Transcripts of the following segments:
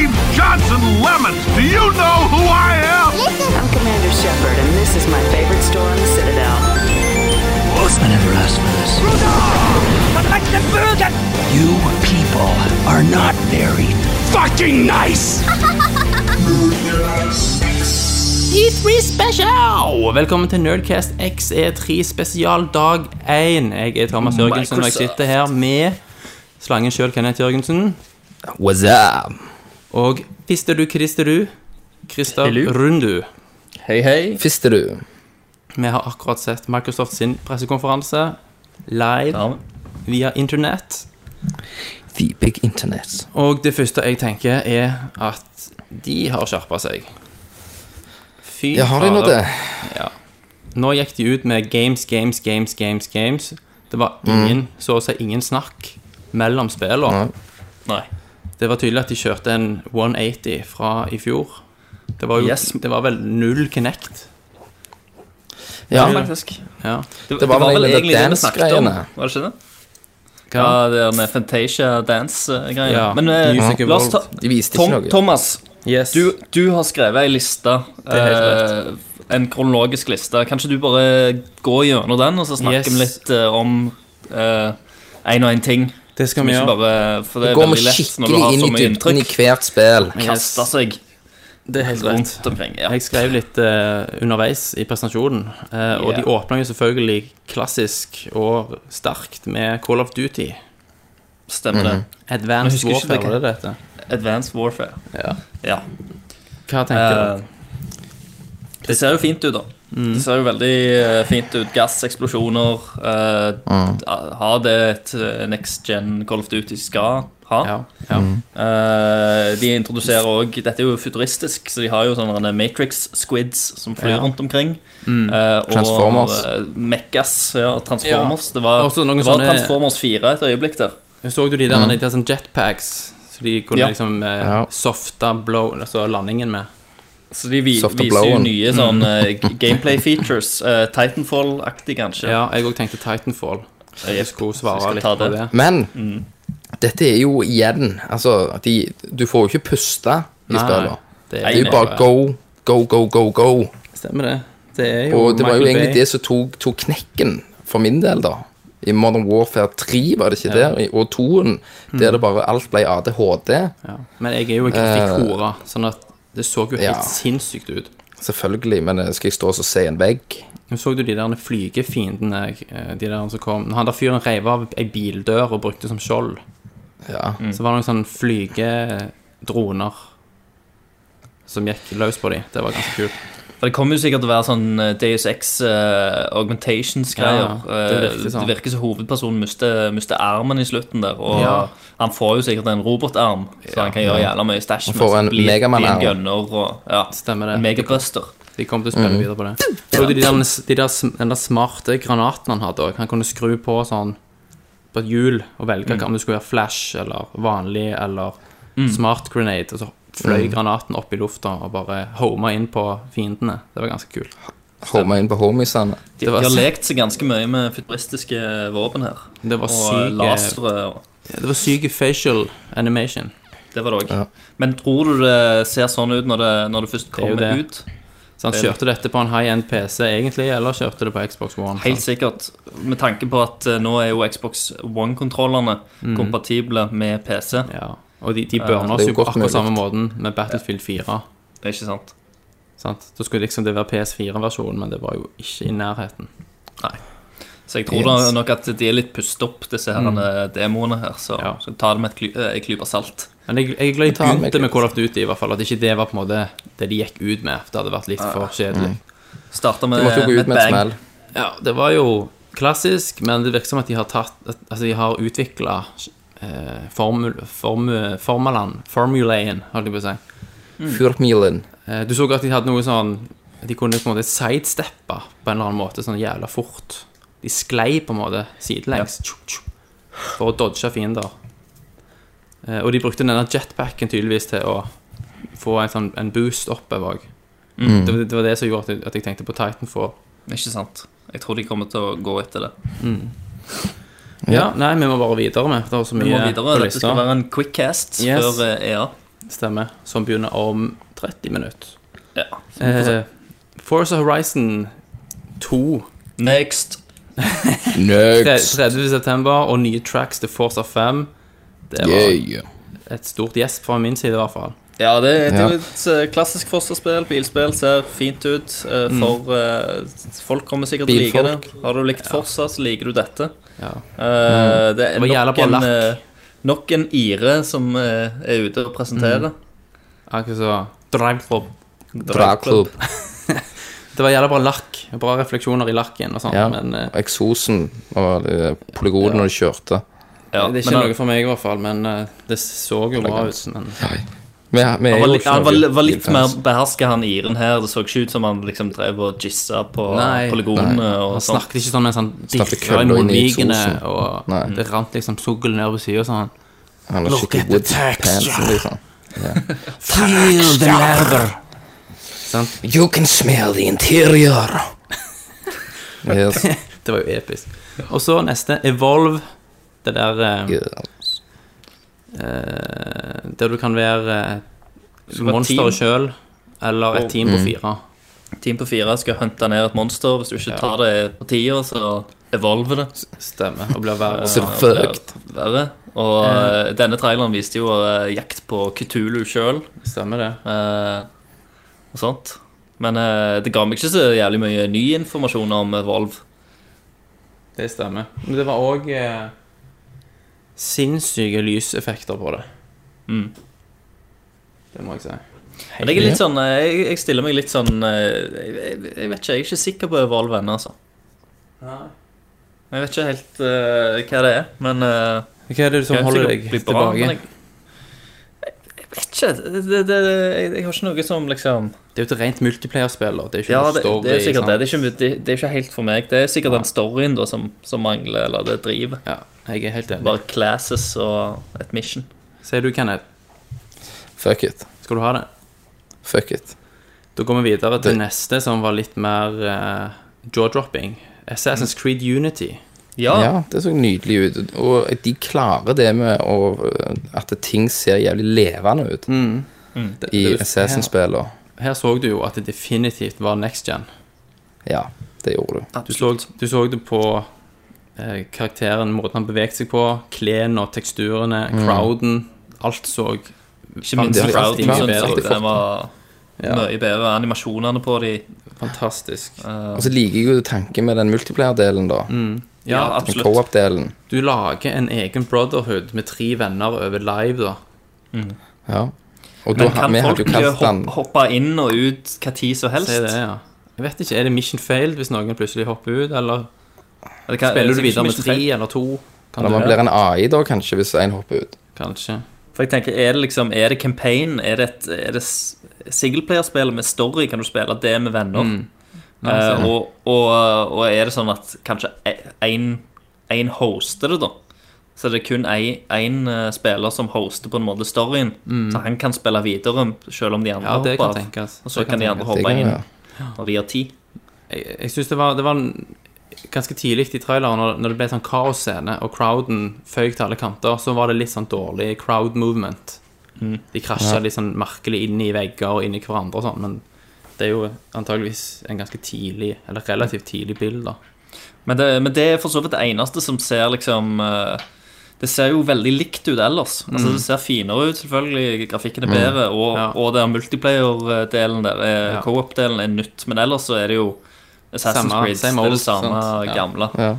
limes and lemons. Do you know who I am? Listen. I'm Commander Shepard, and this is my favorite store on the Citadel. I never asked for this. You people are not very fucking nice! E3 Special! Og Velkommen til Nerdcast XE3 Spesial dag 1. Jeg er Thomas Jørgensen, og jeg sitter her med slangen sjøl, Kenneth Jørgensen. What's up? Og fister du, krister du, Christer Rundu. Hei, hei. Fister du? Vi har akkurat sett Microsoft sin pressekonferanse live via internett. The big internet. Og det første jeg tenker, er at de har skjerpa seg. Fy Ja, har de nå fader. det? Ja. Nå gikk de ut med games, games, games, games, games. Det var ingen, så å si ingen snakk mellom spillene. Det var tydelig at de kjørte en 180 fra i fjor. Det var, jo, Yes. det var vel null connect. Ja, Ja, faktisk. Ja. Det, var vel egentlig det vi snakket om, dance-greiene. var det ikke det? Ja, Hva? det der med Fantasia dance-greier. Ja, Men eh, Music la oss ta Evolved. de viste Tom, ikke noe. Thomas, Yes. du, du har skrevet ei liste. helt Eh, en kronologisk liste. Kan ikke du bare gå gjennom den, og så snakke Yes. vi litt eh, om én og én ting? det skal Som vi ikke gjøre. bare, for det er Går vi veldig lett når du skikkelig har inn så i mye dybden i inntrykk. hvert spill. Kaste seg Det er helt rett. rundt omkring. Ja. Jeg skrev litt eh, underveis i presentasjonen, eh, og Ja. de åpna jo selvfølgelig klassisk og sterkt med Call of Duty. Stemmer det. Mhm. Advanced Jeg husker ikke Warfare, det. var det det heter? Advanced Warfare. Ja. ja. Hva tenker du? Eh, Det ser jo fint ut, da. Mm. Det ser jo veldig eh, fint ut. Gass, eksplosjoner eh, Mm. d- Har det et eh, next gen Call of Duty skal ha. Ja, Mm. ja. Eh, de introduserer òg Dette er jo futuristisk, så de har jo sånne Matrix squids som flyr Ja. Mm. rundt omkring. Eh, og, Transformers. eh, Mechas. Ja, Transformers. Det var, Også noen det var sånne- Transformers 4 et øyeblikk der. Så du de der, de der sånn jetpacks Så de kunne Ja. liksom eh, Mm. Ja. softe blow, altså landingen med Så de vi, Soft and viser jo blown. nye sånn eh, g- gameplay features. eh, Titanfall-aktig, kanskje. Mm. Ja, jeg også tenkte Titanfall Jeg skulle Så svare vi skal litt ta på det det. Men Mm. dette er jo igjen Altså, de, du får jo ikke puste i Nei, spillene. Det det er jo bare go, go, go, go, go. Stemmer det Det er jo Og det var jo Michael egentlig Bay. det som tok, tok knekken for min del, da. I Modern Warfare 3 var det ikke der, og 2-en, Mm. der det bare alt ble ADHD. ja. Men jeg er jo en grafikkhora Sånn at det så jo helt Eh. ja. sinnssykt ut Selvfølgelig, men eh, skal jeg stå og så se en vegg? Nå så du de der flygefiendene eh, De der som kom Når han der fyren rev av en bildør og brukte som skjold Ja. Så var det noen sånne flygedroner Som gikk løs på de Det var ganske kult For det kommer jo sikkert til å være sånn eh, Deus Ex eh, augmentations-greier. Ja, det virker Eh, sånn. det virker som hovedpersonen mister, mister armen i slutten der. Og Ja. han får jo sikkert en robotarm, så han kan gjøre jævla mye stæsj Han får en Megaman-arm. gunner og ja, Stemmer det. en megabrøster. De kommer til å spille videre på det. Og de der, de der, sm- den der smarte granaten han hadde òg. Han kunne skru på sånn på et hjul og velge om det skulle være flash eller vanlig eller smart grenade. Og så fløy granaten opp i lufta og bare homa inn på fiendene. Det var ganske kult. Home inn på homiesene. De, Det var de har sy- lekt seg ganske mye med futuristiske våpen her. Det var eh, Og syke- lasere og Det var syk facial animation. Det var det òg. Ja. Men tror du det ser sånn ut når det, når det først er jo kommer det. ut? Så han Det er kjørte dette på en high-end PC egentlig, eller kjørte det på Xbox One? Helt sikkert. Med tanke på at eh, nå er jo Xbox One-kontrollene Mhm. kompatible med PC. Ja. Og de, de burna oss det er jo jo på godt akkurat mulig. samme måten med Battlefield 4. Det er ikke sant? Sant? Da skulle liksom det være PS4-versjonen, men det var jo ikke i nærheten. Så jeg tror Yes. Mhm. da nok at de er litt pustet opp, disse her eh, demoene her. Så, Ja. så ta det med et kly- eh, en klype salt. Men jeg, jeg er glad jeg Ta den med begynte med litt. Call of Duty, i hvert fall. At ikke det var på en måte det de gikk ut med. for Det hadde vært litt for kjedelig. Starte De med, måtte jo gå Eh, med ut med et smell. Ja, Det var jo klassisk, men det virker som at de har tatt at, Altså, de har utvikla eh, formul, formu- formulaen Formulaen, holdt jeg på å si. Furmilen. Eh, du så at de hadde noe sånn De kunne på en måte sidesteppe på en eller annen måte sånn jævla fort. De sklei på en måte sidelengs tju, tju, for å dodge fiender. Eh, og de brukte denne jetpacken tydeligvis til å få en sånn en boost oppover. Mm. Det, var- det var det som gjorde at jeg, at jeg tenkte på Titanfall. Ikke sant? Jeg tror de kommer til å gå etter det. Ja, nei, vi må bare videre med. Det er så Vi mye må videre. på Dette skal lista. være en quick cast Yes. før eh, EA. Stemmer. Som begynner om 30 minutter. Ja. Eh, Forza Horizon 2. Next. Mm. tre- Next. 30. september, og nye tracks til Forza 5. Det var Yeah. et stort gjesp fra min side, i hvert fall. Ja, det, det er Ja. jo et eh, klassisk fosterspill. Bilspill ser fint ut. eh, Mm. For eh, folk kommer sikkert til å like det. Bilfolk. Har du likt Forsa, så liker du dette. Ja. Eh, Det Det er var jævla nok bra en, lakk. eh, nok en ire som eh, er ute og presenterer. Akkurat så Drive Club. Bra klubb. Det var jævla bra lakk. Bra refleksjoner i lakken og sånn, Ja. men eh, Eksosen og eh, polygonen når du kjørte. Ja, Det er ikke men han- noe for meg, i hvert fall. Men eh, det så jo bra ut. Men Vi, vi er Han var, jo li- ikke han var, noe var litt mer bilfans. beherska, han iren her. Det så ikke ut som han liksom drev og jizza på Nei. polygonene. og han sånt. snakket ikke sånn mens han Stappet dirra i kølla inn i munnvikene, eksosen. og Nei. det rant liksom sugl ned på sida sånn. Han var Look skikkelig at the wood texture. pants, liksom. Feel the leather! Sant? You can smell the interior. Yes. Det var jo episk. Og så neste, Evolve. Det der eh, yes. eh, Der du kan være uh, være team. monsteret sjøl, eller et team på fire. Team på fire skal hunte ned et monster. Hvis du ikke tar det på tida, så evolver det. Stemmer. Og blir verre. Så fucked. Verre. Og eh, denne traileren viste jo eh, jakt på Kutulu sjøl Stemmer det. Eh, og sånt. Men eh, det ga meg ikke så jævlig mye ny informasjon om eh, Evolve. Det stemmer. Men det var òg eh, sinnssyke lyseffekter på det. Mm. Det må jeg si. Men jeg er litt sånn eh, Jeg, jeg stiller meg litt sånn eh, jeg, jeg, jeg vet ikke, jeg er ikke sikker på Evolve ennå, altså. Jeg vet ikke helt eh, hva det er, men eh, Hva er det som jeg er holder sikker deg på å bli bra, men tilbake? Jeg, jeg vet ikke. Det, det, det, jeg, jeg har ikke noe som liksom Det er jo et rent multiplayerspill. da. Det er jo ikke Ja, noe det, story. det er sikkert sant? det. Det er, ikke, det, det er ikke helt for meg. Det er sikkert Nei. den storyen da som, som mangler, eller det drivet. Ja, jeg er helt enig. Bare classes og et mission. Sier du, Kenneth, Fuck it. skal du ha det? Fuck it. Da går vi videre til Det- neste, som var litt mer eh, jaw-dropping. Assassin's Creed Unity. Ah. Ja, Ja, det så nydelig ut. Og de klarer det med å, at ting ser jævlig levende ut Mm. Mm. Det- i det- Assassin-spillene. her, her så du jo at det definitivt var next gen. Ja, det gjorde du. Du så, du så det på eh, karakteren, måten han bevegte seg på, klærne og teksturene, crowden. Alt så ikke minst det har jeg Crowden alltid- det synes har jeg jeg alltid den var mye bedre. Animasjonene på de fantastisk Og så liker jeg jo tanken med den multiplayer-delen, Mm. da. Ja, Ja, at Den absolutt. co-op-delen. du lager en egen brotherhood med tre venner over live, da. Ja. Og da, Men kan vi hadde jo folk kalt den hoppe, hoppe inn og ut hva tid som helst? Si det, ja. Jeg vet ikke, Er det mission failed hvis noen plutselig hopper ut, eller Eller kan- spiller du sikkert videre med ikke tre feil. eller to? Kan Eller du man blir en AI, da, kanskje, hvis en hopper ut. Kanskje. For jeg tenker, Er det liksom, er det campaign? Er det, et, er det s- singleplayerspill med story? Kan du spille det med venner? Mm. Eh, og, og, og er det sånn at kanskje én hoster det, da? Så det er kun én spiller som hoster på en måte storyen. Så han kan spille videre selv om de andre Mm. Ja, det kan hopper av. tenkes. Og så Det kan de tenkes. andre Det hoppe kan inn være. når de har tid. Jeg, jeg syns det var, det var en, ganske tidlig i traileren, når, når det ble sånn kaosscene, og crowden føyk til alle kanter, så var det litt sånn dårlig crowd movement. Mm. De krasja litt sånn merkelig inn i vegger og inn i hverandre og sånn, men det er jo antageligvis en ganske tidlig, eller relativt tidlig bild, da. Men det, men det er for så vidt det eneste som ser liksom eh, Det ser jo veldig likt ut ellers. Altså Det ser finere ut, selvfølgelig. Grafikken er bedre. Og, Mm. Ja. og der multiplayer-delen der, er- Ja. co-op-delen er nytt. Men ellers så er det jo Assassin's Samme- Creed. Det same er old, det samme sant? Ja. gamle. Ja.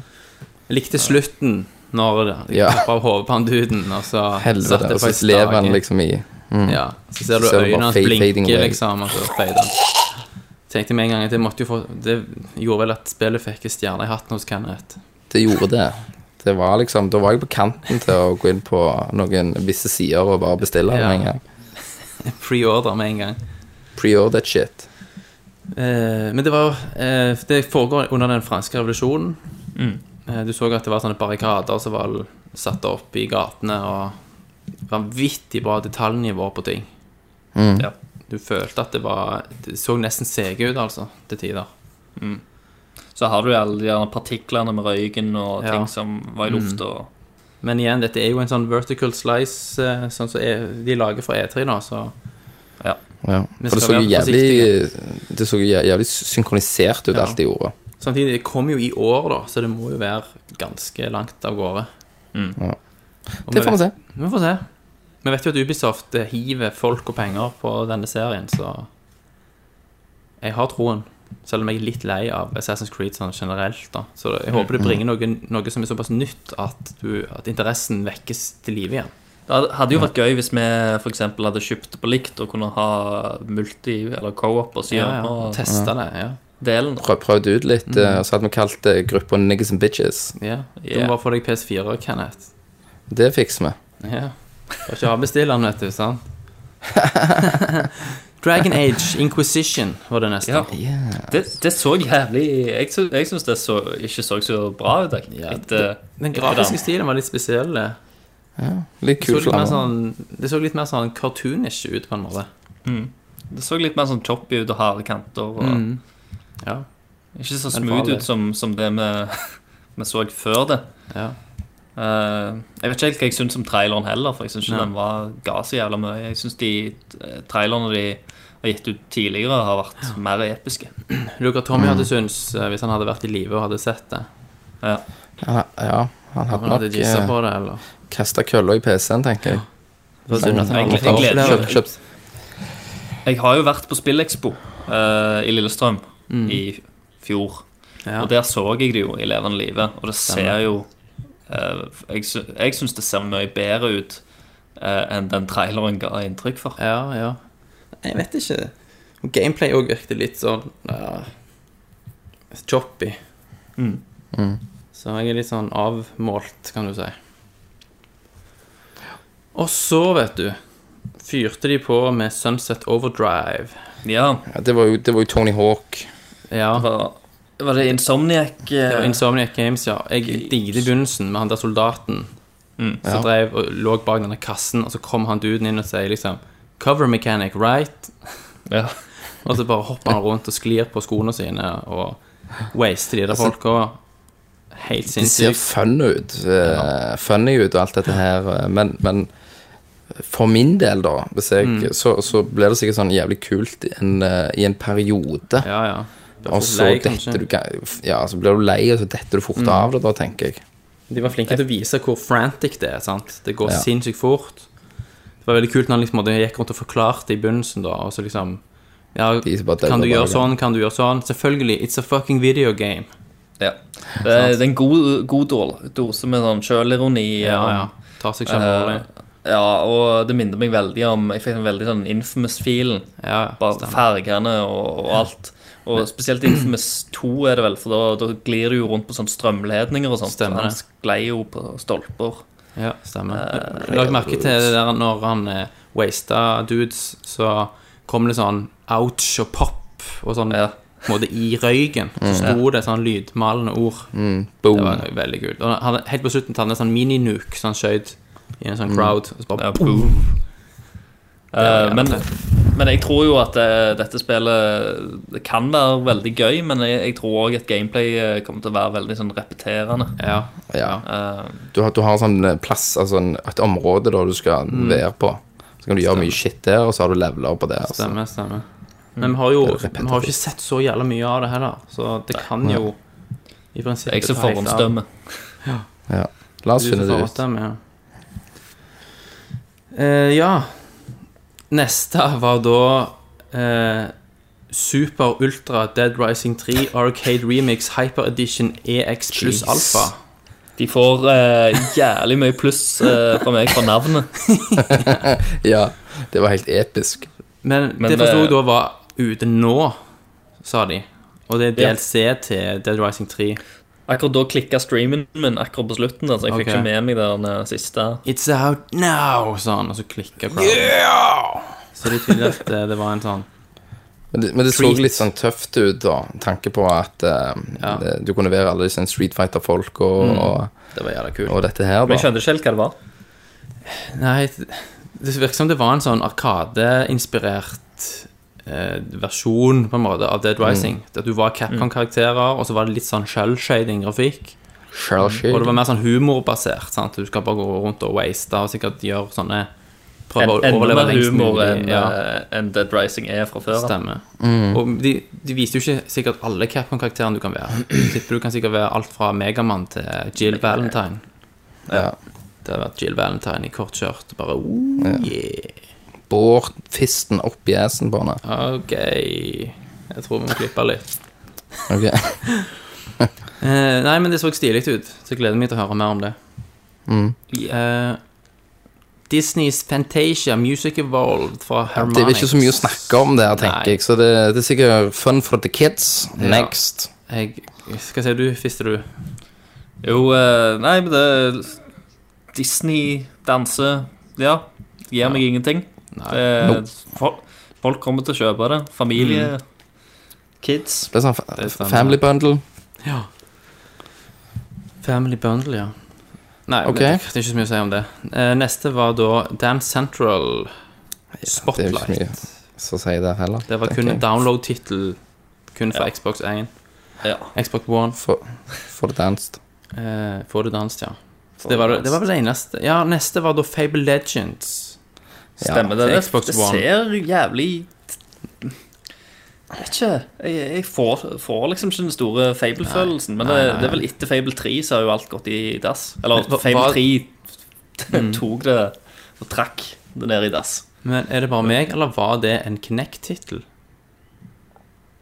Jeg likte slutten når det Ja. hoppa av hodet på han duden, og så Helvete. Og så faktisk lever han dagen. liksom i mm. Ja, så ser du Så ser du øynene bare hans fade- blinke, fading away. liksom, og så fader han. Tenkte med en gang at det måtte jo få Det gjorde vel at spillet fikk en stjerne i hatten hos Kenneth. Det gjorde det. Det var liksom, Da var jeg på kanten til å gå inn på noen visse sider og bare bestille det Ja. med en gang. Pre-order med en gang. Pre-order that shit. Eh, men det var jo eh, Det foregår under den franske revolusjonen. Eh, du så at det var sånne barrikader som var satt opp i gatene, og vanvittig bra detaljnivå på ting. Mm. Ja. Du følte at det var Det så nesten sege ut, altså, til tider. Så har du alle de der partiklene med røyken og Ja. Mm. ting som var i lufta. og Men igjen, dette er jo en sånn vertical slice, eh, sånn som E- de lager for E3, da, så Ja. Vi For det skal så jo være jævlig, det så jo jæ- jævlig synkronisert ut, Ja. alt de gjorde. Samtidig, det kommer jo i år, da, så det må jo være ganske langt av gårde. Ja. Og Det får vi se. vet- Vi får se. Vi vet jo at Ubisoft eh, hiver folk og penger på denne serien, så jeg har troen. Selv om jeg er litt lei av Assassin's Creed sånn generelt. da Så jeg håper det bringer noe, noe som er såpass nytt at, du, at interessen vekkes til live igjen. Det hadde- hadde jo vært gøy hvis vi for eksempel hadde kjøpt det på likt og kunne ha multi- eller co-op og så Ja, gjøre ja, og ja, Teste det. ja delen. Prøv, prøvd ut litt. Mm. eh, Så hadde vi kalt det gruppa Niggas and Bitches. Ja, Du Ja. må bare få deg PS4, Kenneth. Det fikser vi. Ja. Bare ikke avbestill den, vet du. sant? Dragon Age Inquisition var det neste. Ja. Det, det så jævlig Jeg, sy- jeg syns det så, ikke så så bra ut. Jeg. eh, Ja, Etter, Den grafiske stilen var litt spesiell. Det Litt så kul litt, mer flamme. sånn, det så litt mer sånn cartoonish ut, på en måte. det så litt mer sånn choppy ut og harde kanter. Og, Ja. Ikke så Mm. Men smooth farlig. ut som, som det vi, vi så før det. ja. Eh, jeg vet ikke helt hva jeg syns om traileren heller, for jeg syns ikke Nei. den var, ga så jævla mye. Jeg syns de eh, trailerne de har gitt ut tidligere, har vært mer episke. Luca Tommy hadde syntes, eh, hvis han hadde vært i live og hadde sett det Ja. Ja, ja, han Han hadde eh, hadde jissa nok på det, eller kasta kølla i PC-en, tenker jeg. Det var synd at han Jeg- aldri jeg fikk gleder oppleve meg. Kjøpt, det. kjøpt. Jeg har jo vært på Spillekspo eh, i Lillestrøm i fjor, Ja. og der så jeg det jo i levende live, og det ser jo eh, Jeg, sy- jeg syns det ser mye bedre ut eh, enn den traileren ga inntrykk for. ja, ja. Nei, Jeg vet ikke. Og Gameplay òg virket litt sånn ja, choppy. Mm. Så jeg er litt sånn avmålt, kan du si. Og så, vet du, fyrte de på med Sunset Overdrive. Ja, Ja, det, var jo, det var jo Tony Hawk. Ja, det var, var det Insomniac? eh, var Insomniac Games, ja. Jeg digget i begynnelsen med han der soldaten Mm. som Ja. drev og lå bak denne kassen, og så kom han duden inn og sier liksom Cover mechanic, right? ja. Og så bare hopper han rundt og sklir på skoene sine og waster de der folka. Helt Altså, De ser sinnssykt. fun ut. eh, Funny ut og alt dette her, eh, men, men for min del, da, hvis jeg, Mm. så, så ble det sikkert sånn jævlig kult i en, eh, i en periode. Ja, ja. Bare og for så lei, kanskje. Mm. detter du ga- Ja, så blir du lei, og så detter du fort av det, da, tenker jeg. De var flinke til å vise hvor frantic det er. sant? Det går Ja. sinnssykt fort. Det var veldig kult når han liksom, måtte- gikk rundt og forklarte i begynnelsen. da, og så liksom, ja, De som bare Kan du dauer gjøre bare. sånn, kan du gjøre sånn? Selvfølgelig, it's a fucking video game. Ja. Det er, det er en god, god dol- dose med sånn sjølironi. Ja, og- Eh, ja. Tar seg selv alvorlig. Eh, ja, og det minner meg veldig om Jeg fikk en veldig sånn Infamous-feelen. Ja, ja, Bare fargene og, og alt. Og spesielt Infamous 2 er det vel, for da, da glir du jo rundt på sånne strømledninger og sånt. Stemmer Han det. sklei jo på stolper. ja stemmer. eh, Lag merke til det der når han eh, wasta dudes, så kom det sånn ouch og pop og sånn Ja. på en måte i røyken. Mm. Så sto det sånn lydmalende ord. Det Boom. var veldig kult. Og han, helt på slutten tok han en sånn mini-nuke, så han skjøt i en sånn Mm. crowd. Og så bare Ja, boom. Eh, men, men jeg tror jo at eh, dette spillet det kan være veldig gøy, men jeg, jeg tror òg at gameplay eh, kommer til å være veldig sånn repeterende. Ja. Ja. Eh, Du har, du har sånn eh, plass, altså en, et område da du skal Mm. være på. Så kan du gjøre mye shit der, og så har du levela på det. Altså. Stemmer, stemmer. Men vi har jo repetitivt. vi har ikke sett så jævla mye av det heller, så det kan jo i prinsippet jeg som ta helt av. forhåndsdømmer. Ja. La oss Du finne det som ut. forhåndsdømmer, ja. Eh, ja. Neste var da eh, Super Ultra Dead Rising 3 Arcade Remix Hyper Edition EX pluss Jeez. Alpha. De får eh, jævlig mye pluss eh, fra meg for navnet. Ja, det var helt episk. Men, Men eh, det forsto det- jeg da var ute nå, sa de. Og det er Ja. DLC til Dead Rising 3. Akkurat da klikka streamen min akkurat på slutten. Altså, jeg fikk Ok. ikke med meg den eh, siste. It's out now, sa han, og så klikka crowden. Så det er tydelig at eh, det var en sånn Men det, men det så Street. litt sånn tøft ut, da. med Tanke på at eh, Ja. Mm. det- du kunne være alle disse Street Fighter-folk og, og, Det var jævla kult. og dette her, Men jeg da. skjønte ikke helt hva det var. Nei, det virker som det var en sånn arkadeinspirert eh, Mm. versjon, på en måte, av Dead Rising. At du var Capcom-karakterer, og så var det litt sånn shell-shading grafikk. Sure, Og Mm. shit. det var mer sånn humorbasert. sant? Du skal bare gå rundt og waste og sikkert gjøre sånne Prøve å Enda overleve mer lengst humor mulig. enn Ja, eh, enn Dead Rising er fra før. da. stemmer. Mm. Og de, de viste jo ikke sikkert alle Capcom-karakterene du kan være. Tipper Du kan sikkert være alt fra Megamann til Jill Valentine. Ja. Det hadde vært Jill Valentine i kort skjørt. og Bare oh, yeah. Bår fisten opp i assen på henne. OK. Jeg tror vi må klippe litt. Ok. Eh, nei, men det så stilig ut, så jeg gleder meg til å høre mer om det. Mm. Eh, Disneys Fantasia Music Evolved fra Harmonix. Det er ikke så mye å snakke om der, tenker Nei. jeg. Så det, det er sikkert fun for the kids. Ja. Next. Jeg skal se, du fister du. Jo, eh, nei, men det Disney-danse Ja, det gir meg ingenting. Nei. Eh, fol- Folk kommer til å kjøpe det. Familie, Mm. kids. Det er sånn fa- Det er sant. family bundle. Ja. Family Bundle, ja. Nei, Ok. men det, det er ikke så mye å si om det. Eh, neste var da Dam Central Det er jo ikke så mye Spotlight. å si der heller. Det var tenker kun jeg. download-tittel kun for Xbox 1. Ja. Xbox One. For, for det danset. Eh, Får du danst, ja. Så det, var, det var vel det eneste. Ja, neste var da Fable Legends. Stemmer det. til Det, Xbox det One. ser jævlig Jeg vet ikke. Jeg, jeg får, får liksom ikke den store Fable-følelsen. Men det, Nei, nei, det er vel etter Fable 3 så har jo alt gått i dass. Eller Men hva- Fable hva- 3 tok det og trakk det ned i dass. Men er det bare meg, eller var det en Kinect-tittel?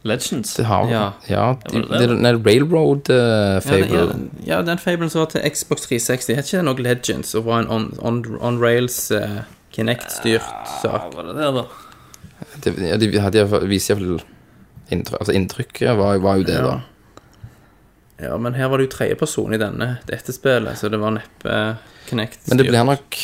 Legends. Det har Ja. Ja, de, det det? det, det er Railroad eh, Ja, det- Fable. Ja, ja, den Fablen som var til Xbox 360, het ikke det noe Legends? Og var en on, on, on rails eh, Kinect-styrt Ja, sak? var det det, da? Det, ja, de hadde iallfall viste iallfall inntrykk, altså Inntrykket var, var jo det, Ja. da. Ja, men her var det jo tredjeperson i denne, dette spillet, så det var neppe eh, Kinect-styrt. Men det blir nok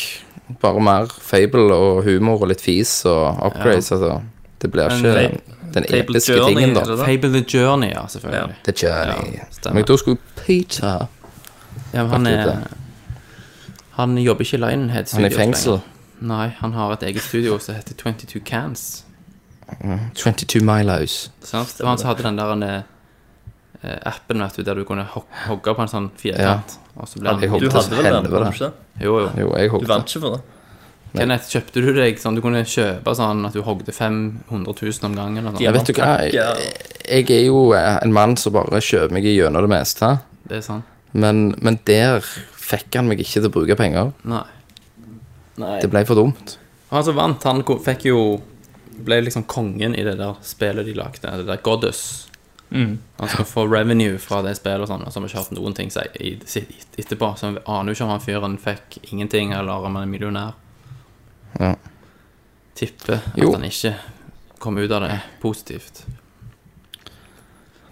bare mer fable og humor og litt fis og upgrades, altså. Det blir Men ikke den Fable episke Journey, tingen, er det da. da? Fable the Journey, ja, selvfølgelig. The Journey. Ja, stemmer. Men da skulle Peter Ja, men han Akkurat er Han jobber ikke i Lionhead Han er i Studios fengsel. lenger. Nei, han har et eget studio som heter 22 Cans. 22 Milos. Sant? Det var han som hadde den der eh, appen vet du, der du kunne ho- hogge på en sånn firkant. Og så ble Jeg han håper Du det hadde vel den? helvete. var du ikke det? Jo, jo. Jo, jeg Du håpet vant ikke for det? Kenneth, kjøpte du deg sånn du kunne kjøpe sånn at du hogde 500 000 om gangen? Og Jeg sånn? vet du hva, jeg, jeg er jo eh, en mann som bare kjøper meg gjennom det meste. Det er sånn. Men, men der fikk han meg ikke til å bruke penger. Nei. Det ble for dumt. Og han som vant, han ko- fikk jo Ble liksom kongen i det der spillet de lagde, det der Goddess. Han skal få revenue fra det spillet og sånn, og så har vi ikke hørt noen ting si i- si- etterpå. Så vi aner jo ikke om han fyren fikk ingenting, eller om han er millionær. Ja. Tipper at Jo. han ikke kom ut av det positivt.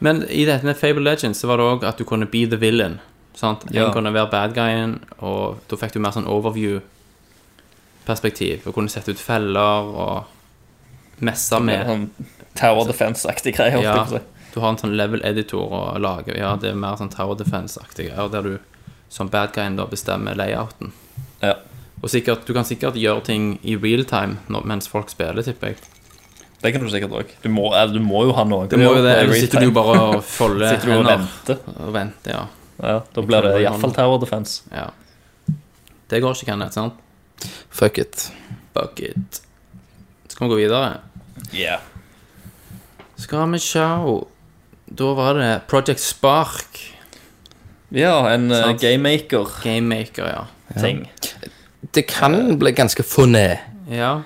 Men i dette med Fable Legends så var det òg at du kunne be the villain. Sant? En Ja. kunne være bad guyen, og da fikk du mer sånn overview-perspektiv. Og kunne sette ut feller og messe med Sånn Tower Defense-aktig greie. holdt ja, jeg på å si. du har en sånn level editor å lage. Ja, det er mer sånn tower defense-aktig greier, der du som bad guy da bestemmer layouten. Ja. Og sikkert, du kan sikkert gjøre ting i real time når, mens folk spiller, tipper jeg. Det kan du sikkert òg. Du, må- eh, du må jo ha noe. Det må jo det, ellers Every sitter du jo time. bare og folder Sitter du og hender venter. og venter, ja. Ja, da blir det iallfall Tower Defense. ja. Det går ikke, Kenneth, sant? Fuck it. Fuck it. Skal vi gå videre? Yeah. Skal vi sjå Da var det Project Spark Ja, en uh, Sant. gamemaker-ting. Gamemaker, ja. Det kan bli ganske funny. Ja,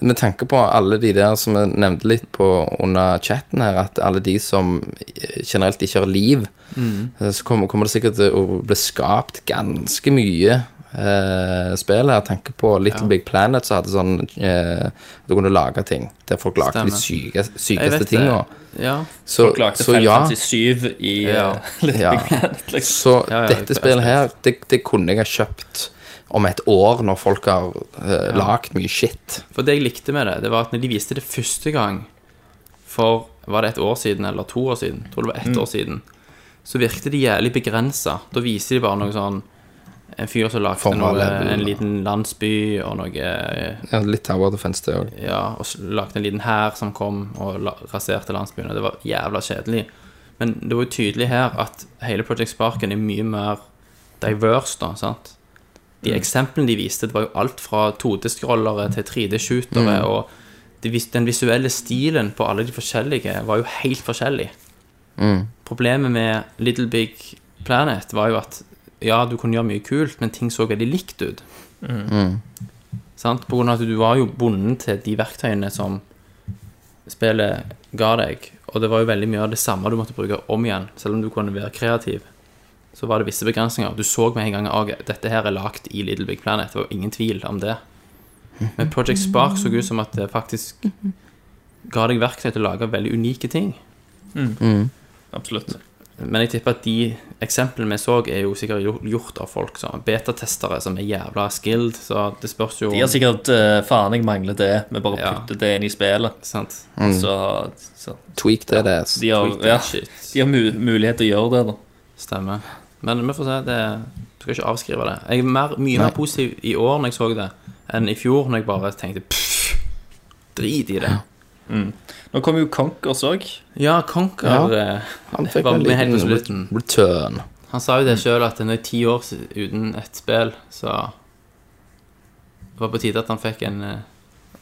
Med tanke på alle de der som jeg nevnte litt på under chatten her, at alle de som eh, generelt ikke har liv, eh, så kommer, kommer det sikkert til å bli skapt ganske mye eh, spill her. Tanke på Little Big Planet, så hadde sånn eh, Du kunne lage ting der folk lagde de syke, jeg vet sykeste det. tinga. Ja. Så, Folk lagde så ja, 557 i Ja. eh, Little Ja. Big Planet, liksom. så Ja, ja, det- dette spillet her, det, det kunne jeg ha kjøpt om et år, når folk har eh, lagd mye shit. For det jeg likte med det, det var at når de viste det første gang for Var det et år siden eller to år siden? Jeg tror det var ett år siden. Så virket de jævlig begrensa. Da viser de bare noe sånn En fyr som lagde Formal noe, level, en ja. liten landsby og noe eh, Ja, litt Tower Defense, det òg. Ja, og s- lagde en liten hær som kom og la, raserte landsbyene. Det var jævla kjedelig. Men det var jo tydelig her at hele Project Sparken er mye mer diverse, da. sant? De eksemplene de viste, det var jo alt fra 2D-scrollere til 3D-shootere. Og de vis- den visuelle stilen på alle de forskjellige var jo helt forskjellig. Problemet med Little Big Planet var jo at ja, du kunne gjøre mye kult, men ting så veldig likt ut. Sant? På grunn av at du var jo bonden til de verktøyene som spillet ga deg, og det var jo veldig mye av det samme du måtte bruke om igjen, selv om du kunne være kreativ. Så var det visse begrensninger. Du så med en gang at dette her er lagt i Little Big Planet. Det var jo ingen tvil om det. Men Project Spark så ut som at det faktisk ga deg verktøy til å lage veldig unike ting. Absolutt. Men jeg tipper at de eksemplene vi så, er jo sikkert gjo- gjort av folk som er betatestere som er jævla skilled, så det spørs jo De har sikkert eh, Faen, jeg mangler det. Vi bare Ja. putter det inn i spillet. sant? Så, så Tweak det, Mm. det. er- de har, Tweak that ja, shit. de har mu mulighet til å gjøre det, da. Stemmer. Men vi får se. Det, du skal ikke avskrive det. Jeg er mer, mye mer positiv i år når jeg så det, enn i fjor når jeg bare tenkte pff, drit i det. Nå kommer jo Conkers òg. Ja, Conker eh, Han fikk var en med helt på liten sånn re- slutten. return. Han sa jo det sjøl at nå er ti år s- uten et spill, så det var på tide at han fikk en eh,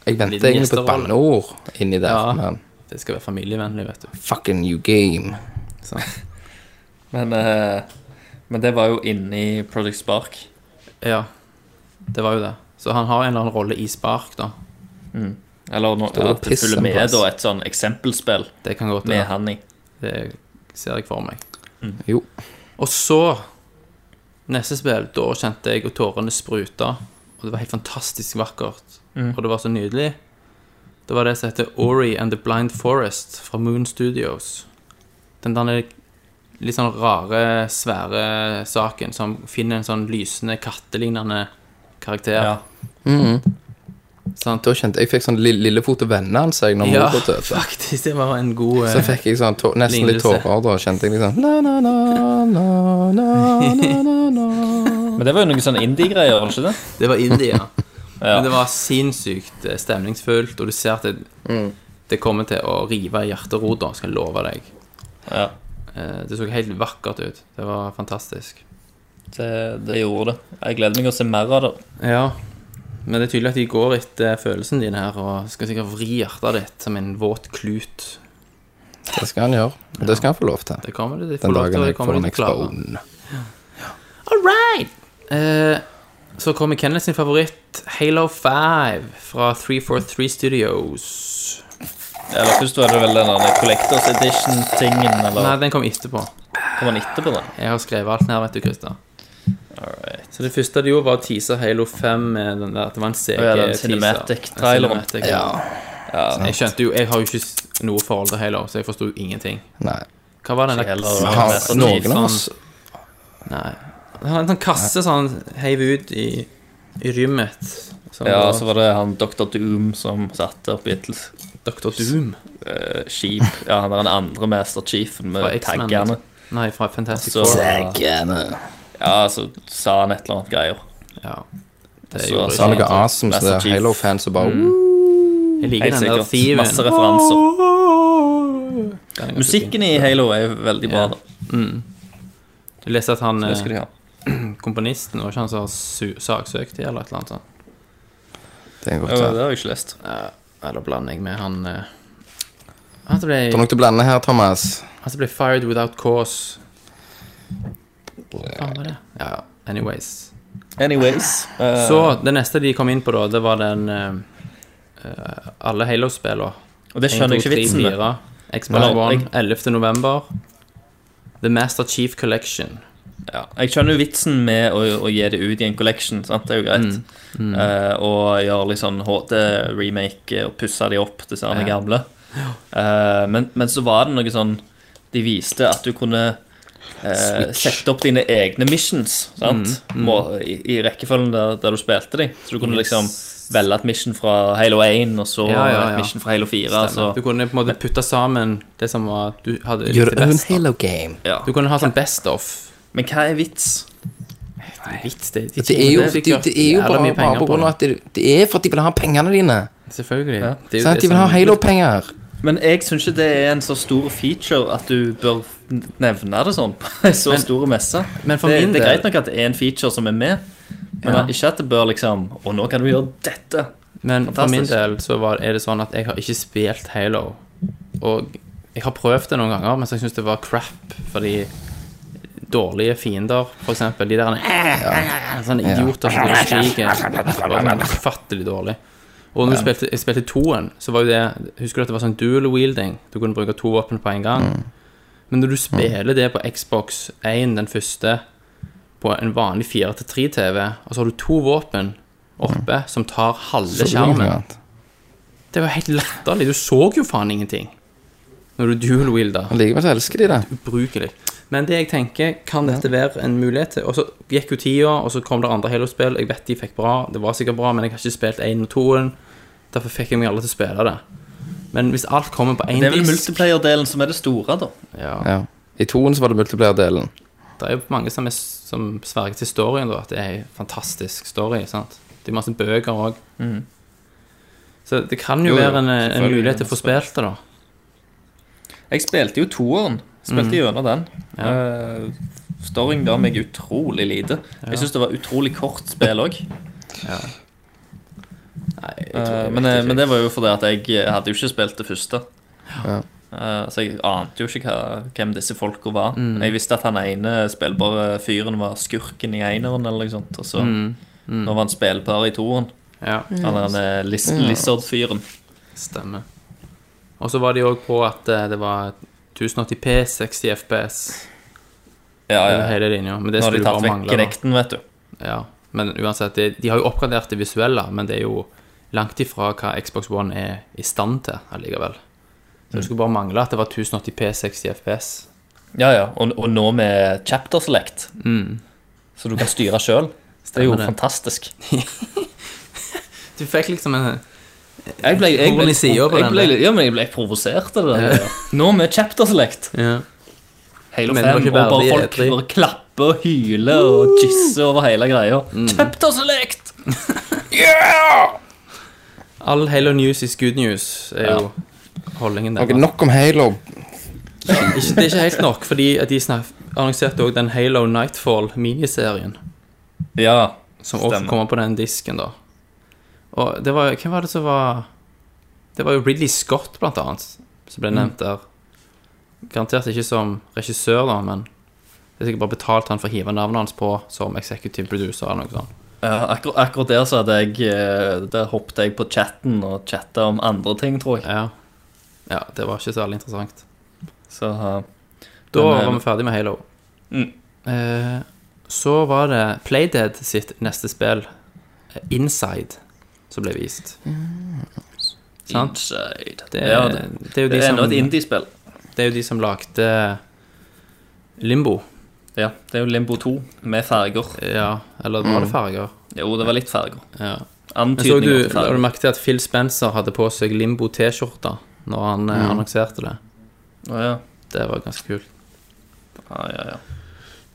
Jeg venter Liten egentlig på et gjesterolle. banneord inni der, Ja. men Det skal være familievennlig, vet du. fucking new game. Så. Men, eh, men det var jo inni Project Spark. Ja, det var jo det. Så han har en eller annen rolle i Spark, da. Eller nå, det at det piss en følger med plass. da, et sånn eksempelspill Det kan godt være. med han i. Det ser jeg for meg. Jo. Og så, neste spill, da kjente jeg og tårene spruta. Og det var helt fantastisk vakkert. Og det var så nydelig. Det var det som heter Ori and the Blind Forest fra Moon Studios. Den der litt sånn rare, svære saken som finner en sånn lysende, kattelignende karakter. Ja. Sant? Da kjente jeg fikk sånn lille, lillefot og vennene hans jeg, når Ja, mor døde. faktisk. Det var en god Så eh, fikk jeg sånn tå, nesten litt Lignelse. tårer da. Kjente jeg liksom na, na, na, na, na, na, na, na. Men det var jo noen sånne indie-greier, var det ikke det? Det var India. Men det var sinnssykt eh, stemningsfullt, og du ser at det, det kommer til å rive i hjerterota, skal jeg love deg. Ja, Eh, Det så helt vakkert ut. Det var fantastisk. det, det gjorde det. Jeg gleder meg å se mer av det. Ja, men det er tydelig at de går etter følelsen din her, og skal sikkert vri hjertet ditt som en våt klut. Det skal han gjøre. Og det skal han få lov til. Det kommer de, de får Den lov til, dagen og jeg det får kommer en de til å klare. expone. All right! Eh, så kommer Kenneth sin favoritt, Halo 5, fra 343 Studios. Eller først var det vel den der Collectors Edition-tingen, eller Nei, den kom etterpå. kom den etterpå, da? Jeg har skrevet alt ned, vet du, Christer. Så det første de gjorde, var å tease Halo 5 med den der. Det var en CG-teaser. Å ja, den cinematic traileren. Ja. Jeg skjønte jo Jeg har jo ikke s- noe forhold til Halo, så jeg forsto ingenting. Nei. Hva var den Ikke der heller. Ja, Han, det er så noen av oss Nei. Han hadde en sånn kasse som han heiv ut i, i rymmet. Som Ja, var så var det han Dr. Doom som satte opp i et eh, Dr. Doom skip. Ja, han var den andre Master Chiefen fra med X-Men. liksom. taggene. Nei, fra Fantastic Så, Four. ja, så sa han et eller annet greier. Ja. Det Så gjorde sa Det er jeg. han- noe awesome så det Master er Chief. Halo-fans som bare Mm. Jeg liker Helt den der sikkert. Masse thieven. referanser. Den er ganske fin. Musikken i Halo er jo veldig bra, Ja. da. Jeg leste at han Det eh, skal de ha. komponisten, var ikke han som har su- saksøkt de, eller et eller annet sånt? Det er Ja, godt. det har jeg ikke lest. Eh, Eller blander jeg med han eh, Han som ble, Det er nok til å blande her, Thomas. han som ble fired without cause. Hva var det? Ja, ja. anyways. Anyways. eh, Så det neste de kom inn på, da, det var den eh, eh, Alle Halo-spillene. og det skjønner jeg ikke vitsen med. Xbox Nei, One jeg- 11. november. The Master Chief Collection. Ja, jeg skjønner jo vitsen med å, å gi det ut i en collection, sant? det er jo Mm. greit. Eh, og gjøre litt sånn HD-remake og pusse de opp, disse her Ja. gamle. Eh, men, men så var det noe sånn De viste at du kunne eh, sette opp dine egne missions sant? Mm. Må, i, i rekkefølgen der, der du spilte de. Så du kunne liksom velge et mission fra Halo 1, og så Ja, ja, ja. et mission fra Halo altså. 4. Stemmer. Du Så, kunne på en måte putte sammen det som var du hadde Your likt own best. da. Halo-game. ja. Du kunne ha sånn best of. Men hva er vits? Vits, det, de Det er jo, tjener det, sikkert det er jo jævla bare, mye penger bare på på grunn det. av at det, det er for at de vil ha pengene dine. Selvfølgelig. Det er jo Sant? det De vil som- ha Halo-penger. Men jeg syns ikke det er en så stor feature at du bør nevne det sånn på en så stor messe. men for det, min det er del- greit nok at det er en feature som er med, men Ja. ikke at det bør liksom Og nå kan du gjøre dette! Men for min Fantastisk. del så var, er det sånn at jeg har ikke spilt Halo. Og jeg har prøvd det noen ganger, men så syns jeg synes det var crap. Fordi dårlige fiender, for eksempel, de der eh, Sånne idioter som går og skriker. Det var Ufattelig dårlig. Og når du spilte, jeg spilte toen, så var jo det Husker du at det var sånn dual wielding? Du kunne bruke to våpen på en gang. Men når du spiller det på Xbox 1, den første, på en vanlig 4-3-TV, og så har du to våpen oppe som tar halve skjermen det var helt latterlig. Du så jo faen ingenting når du dual-wielda. Likevel så elsker de det. Ubrukelig. Men det jeg tenker, kan dette være en mulighet til Og så gikk jo tida, og så kom det andre Halo-spill. Jeg vet de fikk bra, det var sikkert bra, men jeg har ikke spilt 1 og 2-en. Derfor fikk jeg meg alle til å spille det. Men hvis alt kommer på én Det er vel disk multiplayer-delen som er det store, da. ja, Ja. I toen så var det multiplier-delen. Det er jo mange som, er, som sverger til storyen, da, at det er en fantastisk story. sant? Det er masse bøker òg. Så det kan jo, Mhm. Jo, jo, være en, en selvfølgelig. mulighet til å få spilt det, da. Jeg spilte jo toeren. Spilte Mm. gjennom den. Ja. Storyen ga meg utrolig lite. Jeg syns det var utrolig kort spill òg. Nei, jeg tror- jeg Eh, vet men, ikke. men det var jo fordi at jeg eh, hadde jo ikke spilt det første. Eh, så jeg ante jo ikke hva, hvem disse folka var. Mm. Jeg visste at han ene spillbare fyren var skurken i eneren, eller noe sånt. Og så Mm. nå var han spillbar i toeren. ja. Han der eh, lis Lizard-fyren. Stemmer. Og så var de òg på at eh, det var 1080P, 60 FPS, Ja, ja. over hele linja. Men det Nå har skulle de jo bare tatt vekk mangle. da. Kinecten, vet du. Ja. Men uansett, de, de har jo oppgradert det visuelle, men det er jo langt ifra hva Xbox One er i stand til allikevel. Så det Mm. skulle bare mangle at det var 1080P, 60 FPS. Ja, ja. Og, og nå med chapter select, så du kan styre sjøl. Mm. Det er jo Stemmer det. fantastisk. Du fikk liksom en Jeg ble, jeg Horn i ble, siden på jeg den ble, der. ja, men jeg ble provosert av det. der. Nå med chapter select. ja. Halo Men 5, det var og ikke bare verdig folk E3. bare klapper og hyler og jisser over hele greia. Mm. Chapter select! All Halo News is good news, er jo holdningen der. Ok, nok om Halo. Ikke, det er ikke helt nok, fordi at de snak, annonserte òg den Halo Nightfall-miniserien. Ja, Som også Stemmer. kommer på den disken, da. Og det var Hvem var det som var Det var jo Ridley Scott, blant annet, som Mm. ble nevnt der. Garantert ikke som regissør, da, men det er sikkert bare betalt han for å hive navnet hans på som executive producer eller noe sånt. Ja, akkur akkurat der så hadde jeg eh, Der hoppet jeg på chatten og chatta om andre ting, tror jeg. Ja. ja, det var ikke så veldig interessant. Så eh, Da Men, eh, var vi ferdig med Halo. Mm. Eh, så var det Playdead sitt neste spill, eh, Inside, som ble vist. Sant? Inside. Det, ja, er- det, det, er jo det de er som, ennå et indiespill. det er jo de som lagde Limbo. Ja, det er jo Limbo 2 med farger. Ja, eller var det farger? Jo, det var litt farger. Ja. Mm. Men så Antydninger du, til har du farger. merket at Phil Spencer hadde på seg Limbo-T-skjorta når han eh, annonserte det. Å, ja. Det var ganske kult. Ja, ja, ja.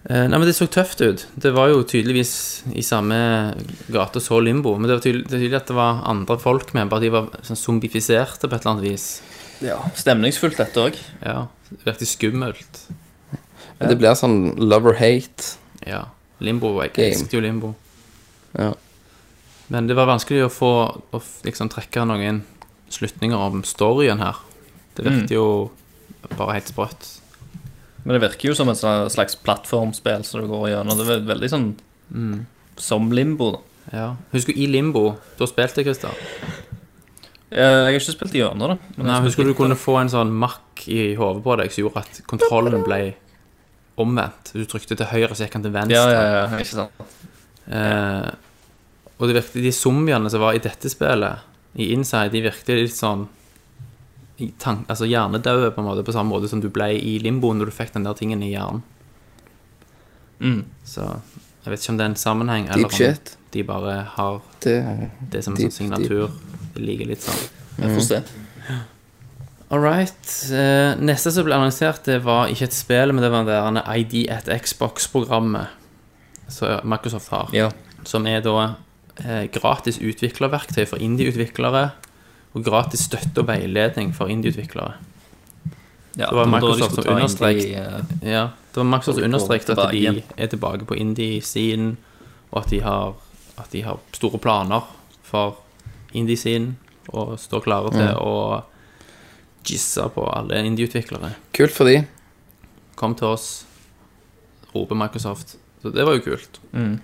Eh, Nei, men Det så tøft ut. Det var jo tydeligvis i samme gate så Limbo. Men det var tydelig, det er tydelig at det var andre folk med, bare de var sånn zombifiserte på et eller annet vis. Stemningsfullt, dette òg. Ja, Virkelig skummelt. Det blir sånn love or hate. Ja. Limbo. Jeg Game. elsket jo Limbo. Ja. Men det var vanskelig å få å f- liksom trekke noen slutninger om storyen her. Det Mm. virket jo bare helt sprøtt. Men det virker jo som et sånn- slags plattformspill som du går gjennom. Det er veldig sånn som limbo. da. Ja. Husker du i Limbo? Da spilte jeg, Christer. Eh, Jeg har ikke spilt gjennom det. men jeg Nei, har husker spilt du litt du kunne få en sånn makk i hodet på deg som gjorde at kontrollen ble omvendt. Du trykte til høyre, så gikk han til av det. venstre. Ja, ja, ja, ikke sant. Eh, og det virkte, de zombiene som var i dette spillet, i Inside, de virkte litt sånn i tan- altså hjernedøde, på en måte, på samme måte som du ble i limboen når du fikk den der tingen i hjernen. Mm. Så jeg vet ikke om det er en sammenheng, eller Deep om shit. de bare har Det, det som en Deep, sånn signatur. Det ligger litt sånn. Jeg får se. All right. Eh, neste som ble annonsert, det var ikke et spill, men det var det derne ID at Xbox-programmet som Microsoft har. Ja. Som er da eh, gratis utviklerverktøy for indie-utviklere og gratis støtte og veiledning for indie-utviklere. Ja, Det var da de Microsoft som skulle ta inn understreket- de, eh, Ja, det var Max som Og understreket kommer at de tilbake igjen. er tilbake på indie-scenen, og at de har, at de har store planer for indie-scenen, og står klare Mm. til å gisse på alle indie-utviklere. Kult for de. Kom til oss, roper Microsoft. Så det var jo kult. Mm.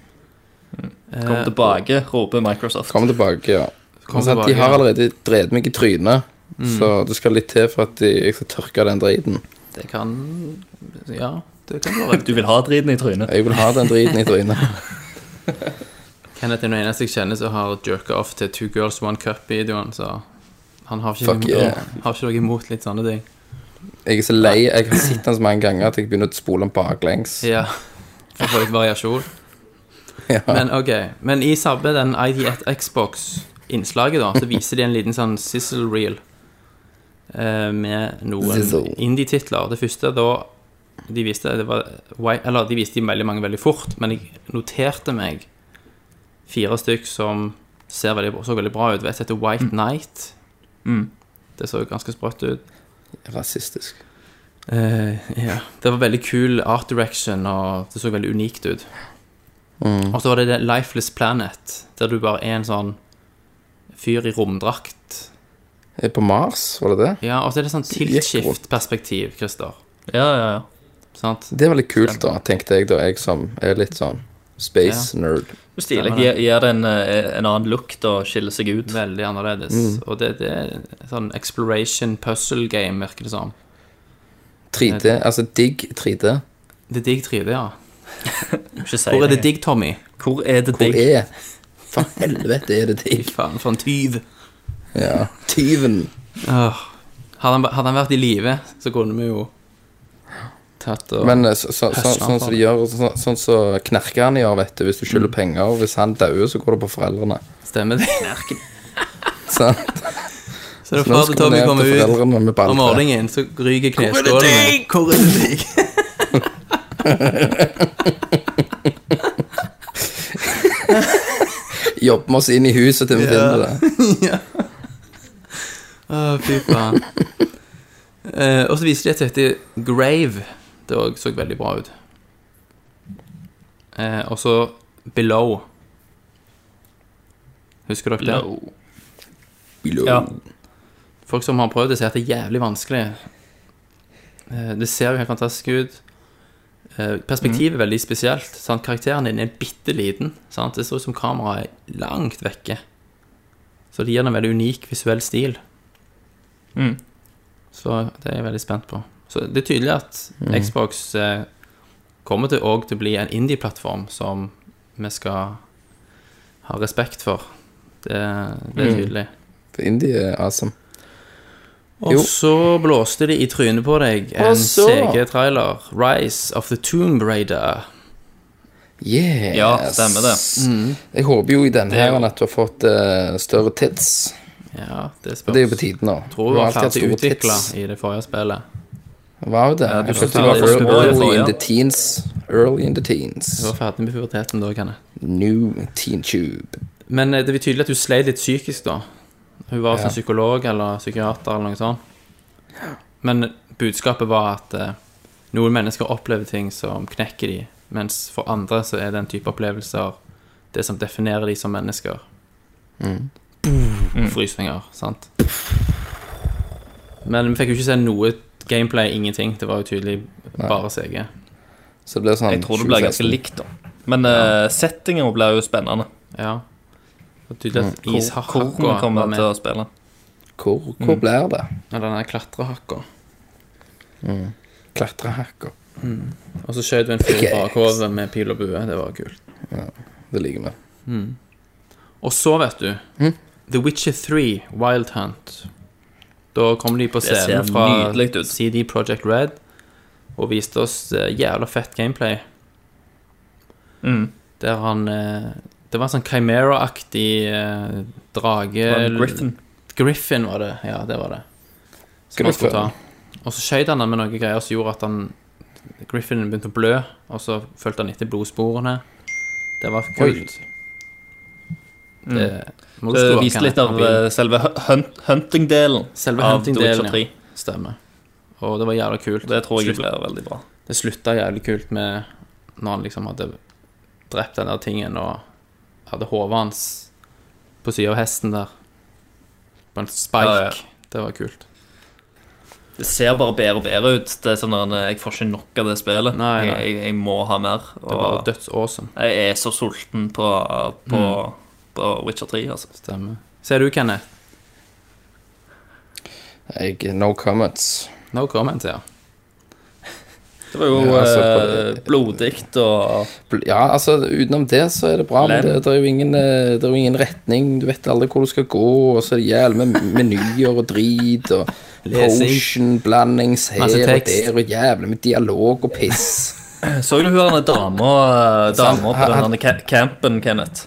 Eh, Kom tilbake, roper Microsoft. Kom tilbake, ja. Kom altså, at tilbake, de har ja. Mm. allerede drevet meg i trynet, så det skal litt til for at de, jeg skal tørke den driten. Det kan Ja, det kan være. Du vil ha driten i trynet. Jeg vil ha den driten i trynet. Kenneth er den eneste jeg kjenner som har jerka off til Two Girls One Cup-videoen, så han har ikke, Fuck noe, yeah. har ikke noe imot litt sånne ting. Jeg er så lei. Jeg har sett den så mange ganger at jeg begynner å spole den baklengs. Ja, for å få litt variasjon. Ja. Men ok, men i sabbe den ID1 Xbox-innslaget da, så viser de en liten sånn sizzle reel eh, med noen Sizzle. indie-titler. Det første da de viste, det var, Wi- eller de viste de veldig mange veldig fort, men jeg noterte meg fire stykk som ser veldig, så veldig bra ut. Vet du, heter White Night. Det så ganske sprøtt ut. Rasistisk. Eh, ja. Det var veldig kul art direction, og det så veldig unikt ut. Og så var det, det Lifeless Planet, der du bare er en sånn fyr i romdrakt. Er På Mars, var det det? Ja, og så er det sånn Gikk rundt. tiltskift-perspektiv, Christer. Ja, ja, ja. Sant? Det er veldig kult, da, tenkte jeg, da jeg som er litt sånn space-nerd. Stilig. Gir, gir det en, eh, en annen lukt og skiller seg ut. Veldig annerledes. Og det, det er sånn exploration puzzle game, virker det som. 3D, altså digg 3D. Det er digg 3D, ja. Ikke si Hvor er det digg, Tommy? Hvor er det Hvor digg? er For helvete er det Fy digg? faen, for en tyv. Ja. Tyven. Åh. Hadde, han, hadde han vært i live, så kunne vi jo tatt og Men eh, så, så, så, Høsler han sånn for Mm. som de gjør, så, sånn så knerkerne gjør, vet du, hvis du skylder penger, hvis han dauer, så går det på foreldrene. Stemmer det? Sant? Så Nå det er far skal til vi Tommy ned kommer til ut foreldrene med om balltre. morgenen, så ryker kneskålene. Hvor er det deg? Jobber vi oss inn i huset til vi finner det. Å, fy faen. Eh, og så viser de at det heter Grave. Det òg så veldig bra ut. Eh, og så Below. Husker dere det? Low. Ja. Ja. Folk som har prøvd det, sier at det er jævlig vanskelig. Eh, Det ser jo helt fantastisk ut. Eh, Perspektivet er veldig spesielt. Sant? Karakteren din er bitte liten. Sant? Det ser ut som kameraet er langt vekke. Så det gir den en veldig unik visuell stil. Mm. Så det er jeg veldig spent på. Så det er tydelig at Xbox eh, kommer til òg til å bli en indie-plattform som vi skal ha respekt for. Det, det er tydelig. For Indie er awesome. Jo. Og så blåste de i trynet på deg Og en så- CG-trailer. Rise of the Tomb Raider. Yes. Ja, stemmer det. Jeg håper jo i denne Mm. er her jo- at du har fått eh, større tits. Ja, det Det er jo spørs. på tide nå. Tror Du vi har var alltid hatt ferdig store utvikla tits. i det forrige spillet. Var jo det. du Jeg skal følte det ta var det som var det early in forrige. the teens. Early in the teens. Vi var ferdig med puberteten da, Kenneth. New teen tube. Men eh, det var tydelig at hun sleit litt psykisk, da. Hun var som psykolog eller psykiater eller noe sånt. Men budskapet var at eh, noen mennesker opplever ting som knekker de, mens for andre så er den type opplevelser det som definerer de som mennesker. Mm. Frysninger, sant. Men vi fikk jo ikke se noe gameplay, ingenting. Det var jo tydelig bare CG. Så det blir sånn Jeg tror det blir ganske 2016. likt, da. Men uh, settingen blir jo spennende. Ja. Det var tydelig at Hvor, hvor vi ishakka var kommer til med. å spille. Hvor, hvor Mm. blir det? Eller den der klatrehakka. Klatrehakker. Og så skjøt vi en fyr Ikke i bakhodet med pil og bue. Det var kult. Det liker vi. Og så, vet du Hm? The Witcher 3 Wild Hunt. Da kom de på ser scenen fra nydelig ut. CD Project Red og viste oss eh, jævla fett gameplay. Mm. Der han eh, Det var en sånn Chimera-aktig eh, drage Var det Griffin. Griffin var det. Ja, det var det. Som han skulle ta. Griffin. Og så skjøt han han med noen greier som gjorde at han Griffinen begynte å blø, og så fulgte han etter blodsporene. Det var kult. Det må du Mm. Det skru av, viste litt Kenneth, av mobilen. eh, selve hun- hun- hunting-delen Selve av hunting-delen, The Witcher 3. Stemmer. Og det var jævla kult. Det tror jeg Slutt- blir veldig bra. det slutta jævlig kult med når han liksom hadde drept den der tingen og hadde hodet hans på sida av hesten der. På en spike. Ja, ja. Det var kult. Det ser bare bedre og bedre ut. Det er sånn at Jeg får ikke nok av det spillet. Nei, nei. Jeg, jeg, jeg må ha mer. Det var Og dødsawesome. jeg er så sulten på, på, på Witcher 3, altså. Stemmer. Ser du, Kenneth? Jeg, no comments. No comment, ja. Det var jo Ja, altså, eh, på- blodig og Bl- Ja, altså, utenom det så er det bra, men Lem. det, det, er jo ingen, eh, det er jo ingen retning. Du vet aldri hvor du skal gå, og så er det jævlig med menyer og drit og Lesing. potion-blandings her og Masse tekst. der, og jævlig med dialog og piss. Så du hun derne dama eh, dama på den derne ca- campen, Kenneth?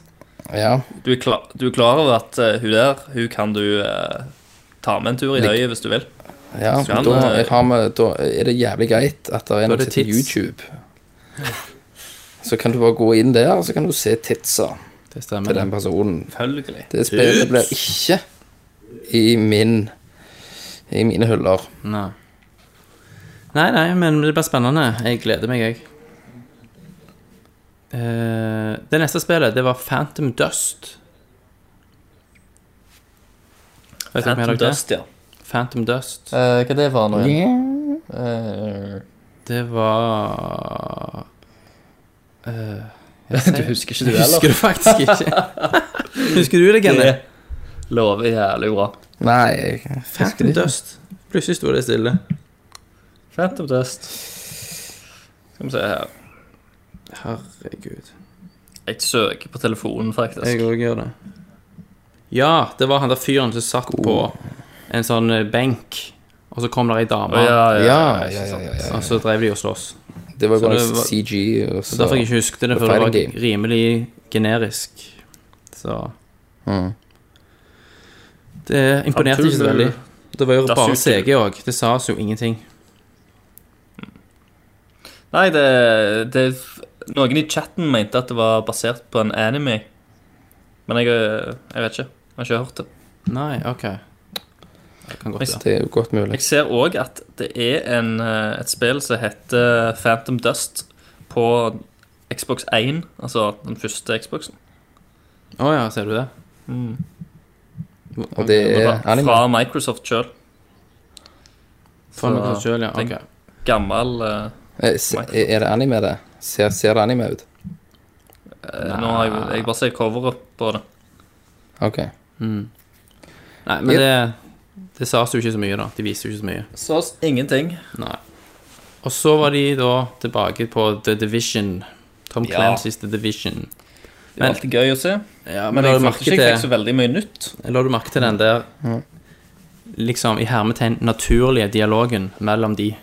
Ja. Du er, klar, du er klar over at eh, hun der, hun kan du eh, ta med en tur i Lik- løyet hvis du vil? Ja, Så han, da, eh, jeg har med, da er det jævlig greit at det er er noe det til tits. YouTube. Så kan du bare gå inn der, og så kan du se titsa Det stemmer. til den personen. Selvfølgelig. Det spillet blir ikke i min I mine hyller. Nei. nei, nei, men det blir spennende. Jeg gleder meg, jeg. Eh, det neste spillet, det var Phantom Dust. Vet dere hva Phantom det er? Dust, ja. Phantom Dust. hva det var nå igjen? Det var Eh, du husker ikke du Jeg husker heller? det faktisk ikke. husker du det, Kenneth? Det lover jævlig bra. Nei, jeg husker Phantom det. Dust. Plutselig sto det stille. Phantom Dust. Skal vi se her. Herregud. Jeg søker på telefonen, faktisk. Jeg òg gjør det. Ja, det var han der fyren som satt på en sånn eh, benk, og så kom der ei Å, dame, ja, ja, Ja, ja, ja, ja, ikke sant. ja, ja. og så drev de og sloss. Det var Så bare det var- CG, og Så så derfor jeg ikke husket det, for det Fighting var game. rimelig generisk. Så Mm. Det imponerte ikke så Absolutt. veldig. Det var jo Da bare synes jeg- CG òg. Det sa oss jo ingenting. Nei, det, det Noen i chatten mente at det var basert på en anime. Men jeg, øh, jeg vet ikke. Jeg har ikke hørt det. Nei, OK. Det kan godt være. Det er jo godt mulig. Jeg ser òg at det er en, øh, et spill som heter eh, Phantom Dust på Xbox 1, altså den første Xboxen. Å ja, ser du det? Mm. Og det er Fra, Eh, anime. fra Microsoft sjøl. Fra meg selv, ja. tenk- Ok. Gammel øh, Eh, se- Er det anime, det? Ser, ser det anime ut? øh, Nå har jeg, jeg bare ser coveret på det. OK. Nei, men det, det sa oss jo ikke så mye, da. De viste jo ikke så mye. Så s- ingenting. Nei. Og så var de da tilbake på The Division. Tom Ja. Clancy's The Division. Det var Men- alltid gøy å se. Ja, Men la jeg du følte merke ikke jeg fikk så til, veldig mye nytt. la du merke til den der liksom i hermetegn naturlige dialogen mellom de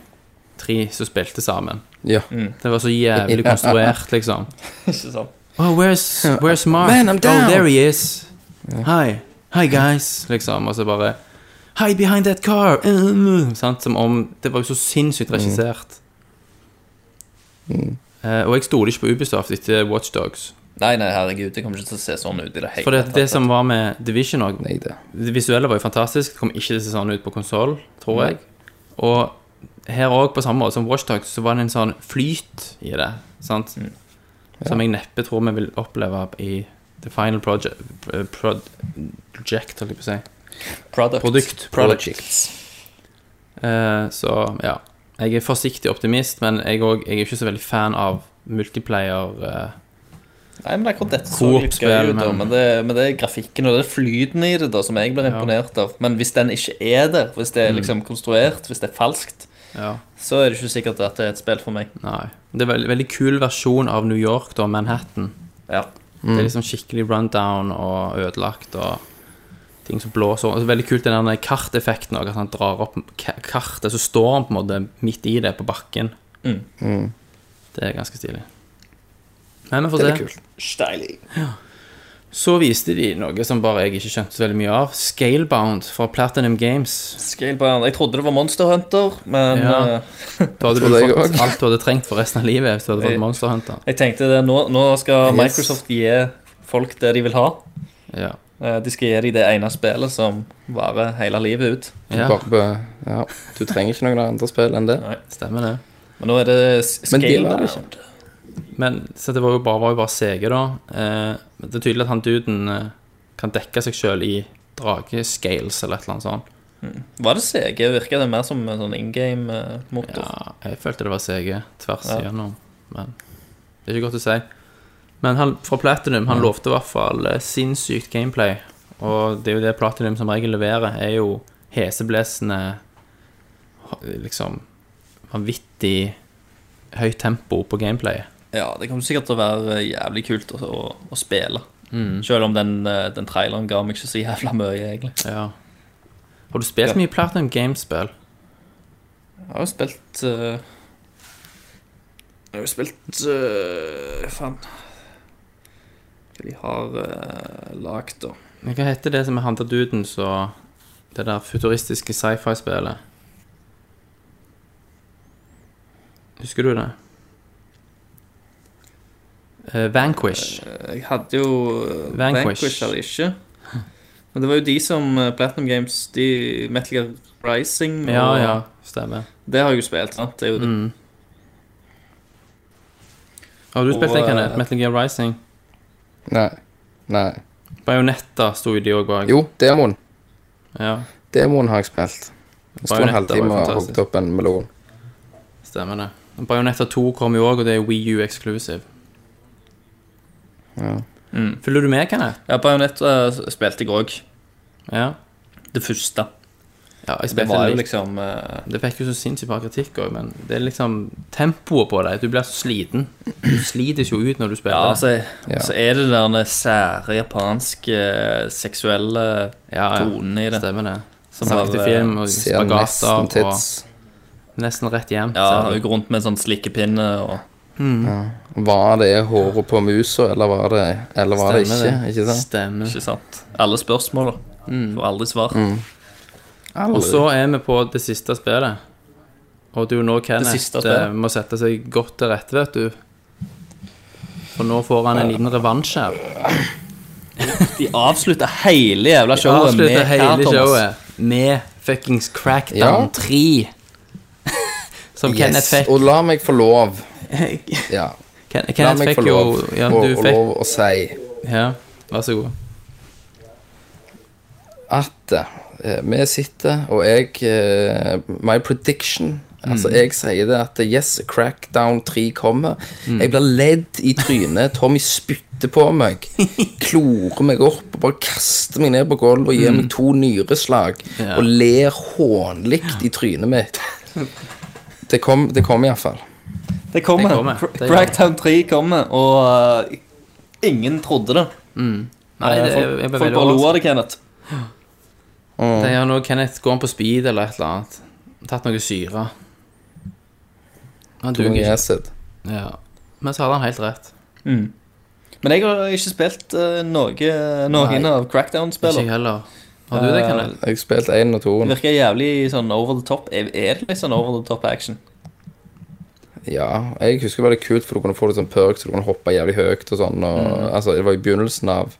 tre som spilte sammen? Ja. Mm. Det var så jævlig Mm. Ja. konstruert, liksom. Ikke sant? Oh, where's, where's Mark? Man, I'm down. Oh, there he is. Hi. Hi, guys. Liksom, og så bare Hi, behind that car. Mm, sant? Som om Det var jo så Mm. sinnssykt regissert. Eh, og jeg stoler ikke på Ubisoft etter Watchdogs. Nei, nei, herregud, det kommer ikke til å se sånn ut i det hele For det, det som var med Division òg Nei, det. Det visuelle var jo fantastisk. Det kom ikke til å se sånn ut på konsoll, tror jeg. Og her òg, på samme måte som Watchdogs, så var det en sånn flyt i det. Sant? Som jeg neppe tror vi vil oppleve i The Final Project, project holdt jeg på å si. Product. Produkt. Projects. Eh, så ja. Jeg er forsiktig optimist, men jeg, òg- jeg er ikke så veldig fan av multiplayer. eh. Nei, men akkurat dette så litt gøy Coop-spill, ut, da. men- Men det, men det er grafikken og det er flyten i det da som jeg blir imponert av. Men hvis den ikke er der, hvis det er liksom konstruert, hvis det er falskt, Mm. ja. så er det ikke sikkert at det er et spill for meg. Nei. Det er en veldig, veldig kul versjon av New York, da, Manhattan. Ja. Mm. Det er liksom skikkelig rundown og ødelagt og ting som blåser. Og så veldig kult den der karteffekten òg, at han drar opp ka- kartet, så står han på en måte midt i det på bakken. Mm. Det er ganske stilig. Men vi Det får er litt se. kult. Steilig. Så viste de noe som bare jeg ikke skjønte så veldig mye av. Scalebound fra Platinum Games. Scalebound. Jeg trodde det var Monster Hunter, men Ja. eh, Da hadde du Trodde jeg fått også. Eh. alt du hadde trengt for resten av livet hvis du hadde Jeg- fått Monster Hunter. jeg tenkte det, nå, nå skal Yes. Microsoft gi folk det de vil ha. Ja. Eh, De skal gi deg det ene spillet som varer hele livet ut. Ja. Bare, bø- ja. Du trenger ikke noen andre spill enn det. Stemmer det. Men nå er det s- Men de scale var det down. Men så det var jo bare, var jo bare CG, da. Eh, men det er tydelig at han duden eh, kan dekke seg sjøl i dragescales eller et eller annet sånt. Var det CG? Virka det mer som en sånn in game-motor? Ja, jeg følte det var CG tvers Ja. igjennom, men det er ikke godt å si. Men han fra Platinum han lovte i hvert fall eh, sinnssykt gameplay. Og det er jo det Platinum som regel leverer, er jo heseblesende ha- Liksom vanvittig høyt tempo på gameplayet. Ja, det kommer sikkert til å være eh, jævlig kult å, å, å spille. Selv om den, eh, den traileren ga meg ikke så jævla mye, egentlig. Ja. Har du spilt mye Platinum Games-spill? Jeg har jo spilt eh, Jeg har jo spilt eh, Faen. Hva de har uh, lagd, da? Men Hva heter det som er Hunter Duden, så Det der futuristiske sci-fi-spillet? Husker du det? Eh, Vanquish. Jeg hadde jo eh, Vanquish. Vanquish hadde jeg ikke. Men det var jo de som eh, Platinum Games, de Metal Gear Rising og Ja, ja, stemmer. Det har jeg jo spilt, sant? Det er jo det. Mm. Har du spilt det, Og, Kenneth? eh, Metal Gear Rising? Nei. Nei. Bajonetta sto jo de òg bak. Jo, Demon. Ja, Demon har jeg spilt. Jeg sto en Bayonetta var halvtime jo og fantastisk. hogget opp en melon. stemmer det. Bajonetta 2 kom jo òg, og det er Wii U exclusive. Ja. Følger du med, Kenneth? Ja, Bajonetta spilte jeg òg. Ja. Det første. ja jeg Det spilte var litt. jo liksom eh, Det fikk jo så sinnssykt bra kritikk òg, men det er liksom tempoet på deg. Du blir så sliten. Du slites jo ut når du Ja, spiller. altså, Ja. så er det den sære japanske eh, seksuelle Ja, ja. tonen i det. Stemmer det. Som Sakte har, eh, film og Ser nesten spagater tits. og nesten rett hjem. Ja, ser har du. jo rundt med en sånn slikkepinne og Var det håret på musa, eller var det, eller var det ikke? Stemmer Ikke sant? Stemmer. Ikke sant? Alle spørsmål, da. Mm. Får aldri svar. Og så er vi på det siste spillet. Og det er jo nå siste Kenneth eh, spillet. må sette seg godt til rette, vet du. For nå får han en liten revansj her. De avslutter hele jævla showet Avslutter hva, hele Thomas? showet med fuckings Crackdown Ja. 3. Som Kenneth fikk. Og la meg få lov. Ja. Ken, La Kenneth meg få fikk jo lov ja, å, du å, fikk, lov å si ja, Vær så god. at eh, vi sitter, og jeg eh, My prediction Mm. Altså, jeg sier det at yes, Crackdown 3 kommer. Mm. Jeg blir ledd i trynet. Tommy spytter på meg. Klorer meg opp og bare kaster meg ned på gulvet og gir meg to nyreslag. Mm. Ja. Og ler hånlig i trynet mitt. Det kom, det kom iallfall. Det kommer. Det kommer. Cra- Det gjør Crackdown 3 kommer, og eh, ingen trodde det. Mm. Nei, Eh, det, jeg, folk, jeg ble folk veldig bare lo overrasket. av det, Kenneth. Det er når Kenneth går på speed eller et eller annet. Tatt noe syre. Han duger ikke. Acid. Ja. Men så hadde han helt rett. Men jeg har ikke spilt eh, noe, noen Nei. av Ikke Crackdown-spillene. jeg heller. Har du det, Eh, Kenneth? Jeg spilte én og toen. Det virker jævlig sånn over the top. Er er det litt sånn over the top action? Ja, jeg husker det var litt kult, for du kunne få litt sånn perks, og du kunne hoppe jævlig høyt og sånn. Og, Mm. Altså, det var i begynnelsen av,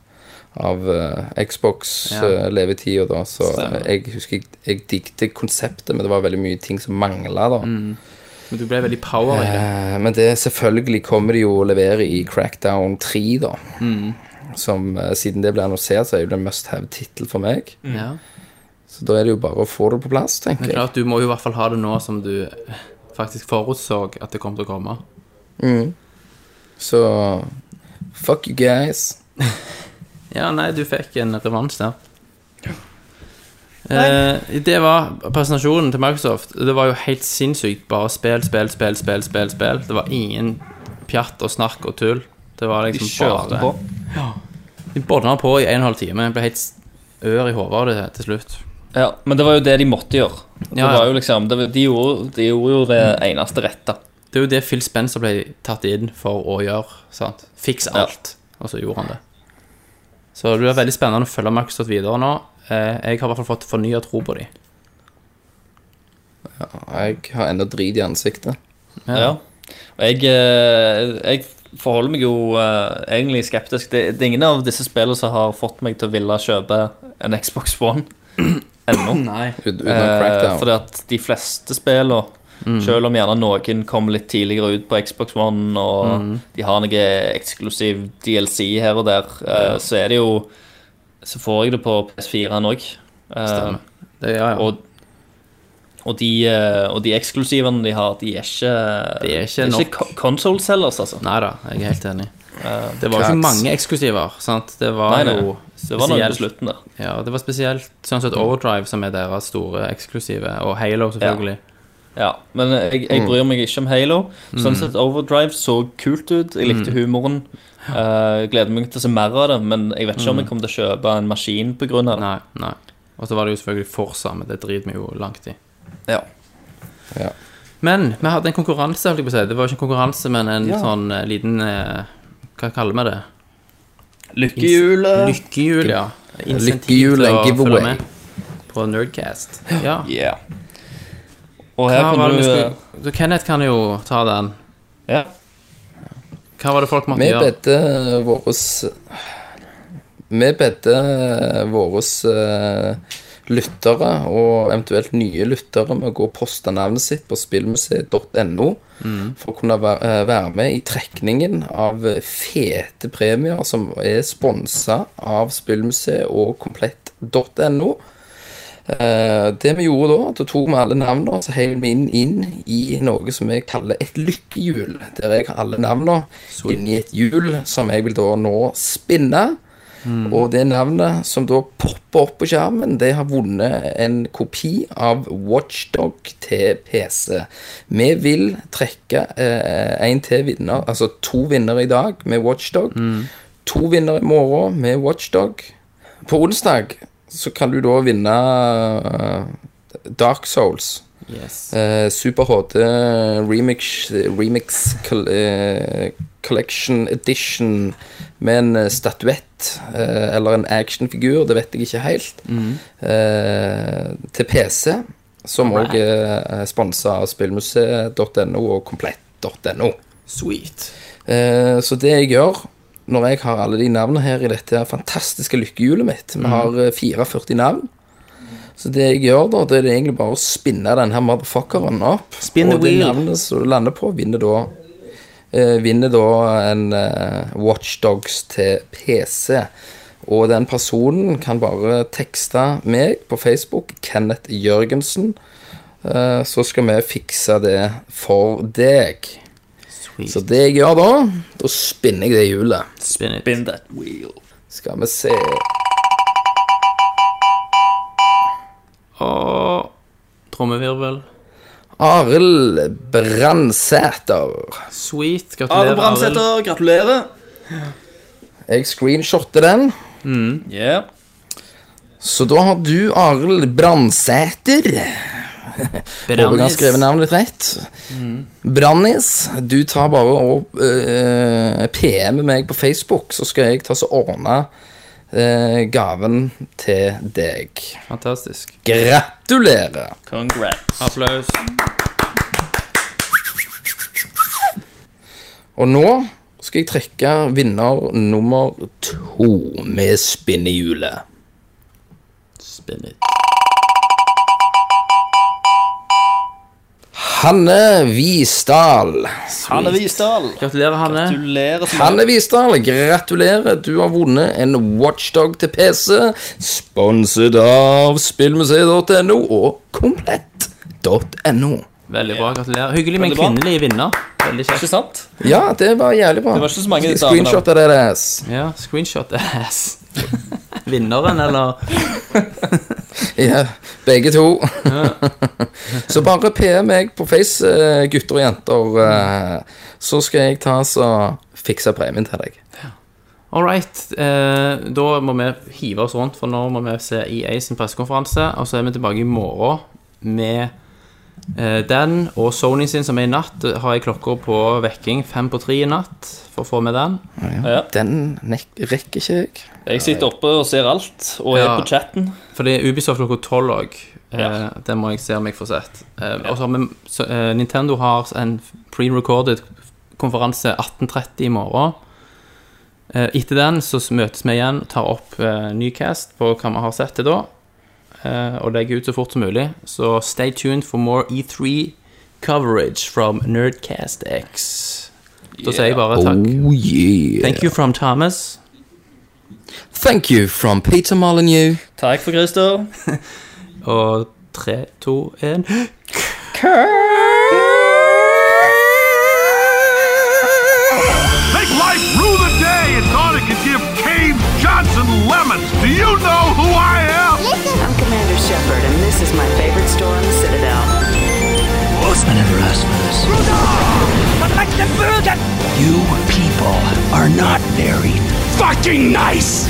av eh, Xbox Ja. uh, levetida da, så Stemmer. jeg husker jeg, jeg digte konseptet, men det var veldig mye ting som mangla da. Mm. Eh, Men du ble veldig power i det. Eh, men det selvfølgelig kommer de jo å levere i Crackdown 3, da. Mm. Som eh, siden det ble annonsert, så er det jo en must have-tittel for meg. Ja. Så da er det jo bare å få det på plass, Men tenker jeg. Mm. klart, du må jo i hvert fall ha det nå som du eh, faktisk forutså at det kom til å komme. Så fuck you guys. Ja, nei, du fikk en revansj der. Eh, det var presentasjonen til Microsoft. Det var jo helt sinnssykt. Bare spill, spill, spill, spill, spill. spill. Det var ingen pjatt og snakk og tull. Det var De liksom kjørte bare på. De bodna på i en og en halv time. Jeg ble helt s- ør i hodet av det til slutt. Ja, men det var jo det de måtte gjøre. Det Ja, Mm. ja. var jo liksom, det, de, gjorde, de gjorde jo det eneste rette. Det er jo det Phil Spencer ble tatt inn for å gjøre. sant? Fiks alt. Og så gjorde han det. Så det blir veldig spennende å følge Microsoft videre nå. Eh, jeg har i hvert fall fått fornya tro på dem. Jeg har ennå drit i ansiktet. Ja. Og jeg, eh, jeg forholder meg jo eh, egentlig skeptisk. Det, det er ingen av disse spillene som har fått meg til å ville kjøpe en Xbox One ennå. Nei. ut- Utenom Eh, Crackdown. fordi at de fleste spillene, Mm. selv om gjerne noen kommer litt tidligere ut på Xbox One, og Mm. de har noe eksklusiv DLC her og der, eh, så er det jo Så får jeg det på PS4 òg. Stemmer. Det, ja, ja. og, Eh, og, de, eh, og de eksklusivene de har, de er ikke Det er ikke det nok. ko- console sellers, altså. Nei da, jeg er helt enig. Det var jo ikke Cracks. mange eksklusiver, sant. Det var Nei, nei. jo Så det var noe spesielt- på slutten der. Ja, det var spesielt sånn sett Overdrive som er deres store eksklusive, og Halo selvfølgelig. Ja, men jeg, jeg bryr meg ikke om Halo. Sånn sett Overdrive så kult ut. Jeg likte humoren. Eh, gleder meg til å se mer av det, men jeg vet ikke om jeg kommer til å kjøpe en maskin pga. det. Nei, nei. Og så var det jo selvfølgelig Forsa, men det driter vi jo langt i. Ja. Ja. Men vi hadde en konkurranse, holdt jeg på å si. Det var jo ikke en konkurranse, men en sånn eh, liten eh, Hva kaller vi det? Lykkehjulet. Lykkehjul, ja. Lykkehjul, til å en giveaway. følge med På Nerdcast. Ja. Ja. Og her Hva var kan det du vi eh, skulle Så Kenneth kan jo ta den. ja. Hva var det folk måtte Vi gjøre? bedte eh, våres Vi bedte våres eh, lyttere, og eventuelt nye lyttere, med å gå og poste navnet sitt på spillmuseet.no for å kunne være, eh, være med i trekningen av fete premier som er sponsa av Spillmuseet og komplett.no. Eh, det vi gjorde da, da tok vi alle navnene og så heiv vi inn, inn i noe som jeg kaller et lykkehjul. Der jeg har alle navnene inni et hjul som jeg vil da nå spinne. Og det navnet som da popper opp på skjermen, det har vunnet en kopi av Watchdog til PC. Vi vil trekke én til vinner, altså to vinnere i dag med Watchdog. To vinnere i morgen med Watchdog. På onsdag så kan du da vinne eh, Dark Souls. Yes. eh, Super HD Remix, remix col- eh, Collection Edition med en eh, statuett eh, eller en actionfigur, det vet jeg ikke helt, eh, til PC, som òg er sponsa av spillmuseet.no og komplett.no. Sweet. Eh, Så det jeg gjør når jeg har alle de navnene her i dette her fantastiske lykkehjulet mitt Mm. Vi har eh, 44 navn. Så det jeg gjør da, det er egentlig bare å spinne den her motherfuckeren opp. Spin the og de wheel. navnene som du lander på, vinner da eh, Vinner da en eh, Watchdogs til PC. Og den personen kan bare tekste meg på Facebook, Kenneth Jørgensen, eh, så skal vi fikse det for deg. Sweet. Så det jeg gjør da, da spinner jeg det hjulet. Spin it. Spin that wheel. Skal vi se Og trommevirvel. Arild Brandsæter. Sweet. Gratulerer, Arild. gratulerer. Jeg screenshotter den. Ja. Så da har du, Arild Brandsæter Håper jeg har skrevet navnet ditt rett. Brannis, du tar bare og eh, PM meg på Facebook, så skal jeg ta så ordne eh, gaven til deg. Fantastisk. Gratulerer! Congrats. Applaus. Og nå skal jeg trekke vinner nummer to med spinnehjulet. Spin it. Hanne Visdal. Hanne Visdal. Gratulerer, Hanne. Gratulerer. så mye. Hanne Visdal, gratulerer. Du har vunnet en Watchdog til PC, sponset av spillmuseet.no og komplett.no. Veldig bra. Gratulerer. Hyggelig med en Veldig bra. kvinnelig vinner. Veldig Ikke kjekt. sant? Ja, det var jævlig bra. Det var ikke så mange Skal jeg damer da. Screenshotte deres. Ja, screenshot ass. Vinneren, eller Ja, begge to. så bare PM meg på Face, eh, gutter og jenter, eh, så skal jeg ta så fikse premien til deg. All right. Eh, da må vi hive oss rundt, for nå må vi se EA sin pressekonferanse. Og så er vi tilbake i morgen med eh, den og Sony sin, som er i natt. Har jeg klokka på vekking fem på tre i natt for å få med den. Ja. Den nek rekker ikke jeg. Jeg sitter oppe og ser alt, og er Ja. på chatten. For det er Ubisoft klokka tolv òg. Ja. Det eh, må jeg se om jeg får sett. Eh, Og så har vi så, eh, Nintendo har en pre-recorded konferanse 18.30 i morgen. Eh, Etter den så møtes vi igjen og tar opp eh, Newcast på hva vi har sett til da. eh, Og legger ut så fort som mulig. Så stay tuned for more E3 coverage from Nerdcast X. Da sier jeg bare takk. Oh yeah. Thank you from Thomas. Thank you from Peter Molyneux. Takk for Christer. Og tre, to, én Make life rue the day and thought it could give Cave Johnson lemons. Do you know who I am? I'm Commander Shepard, and this is my favorite store on the Citadel. Horsemen and Rasmus. You people are not very fucking nice!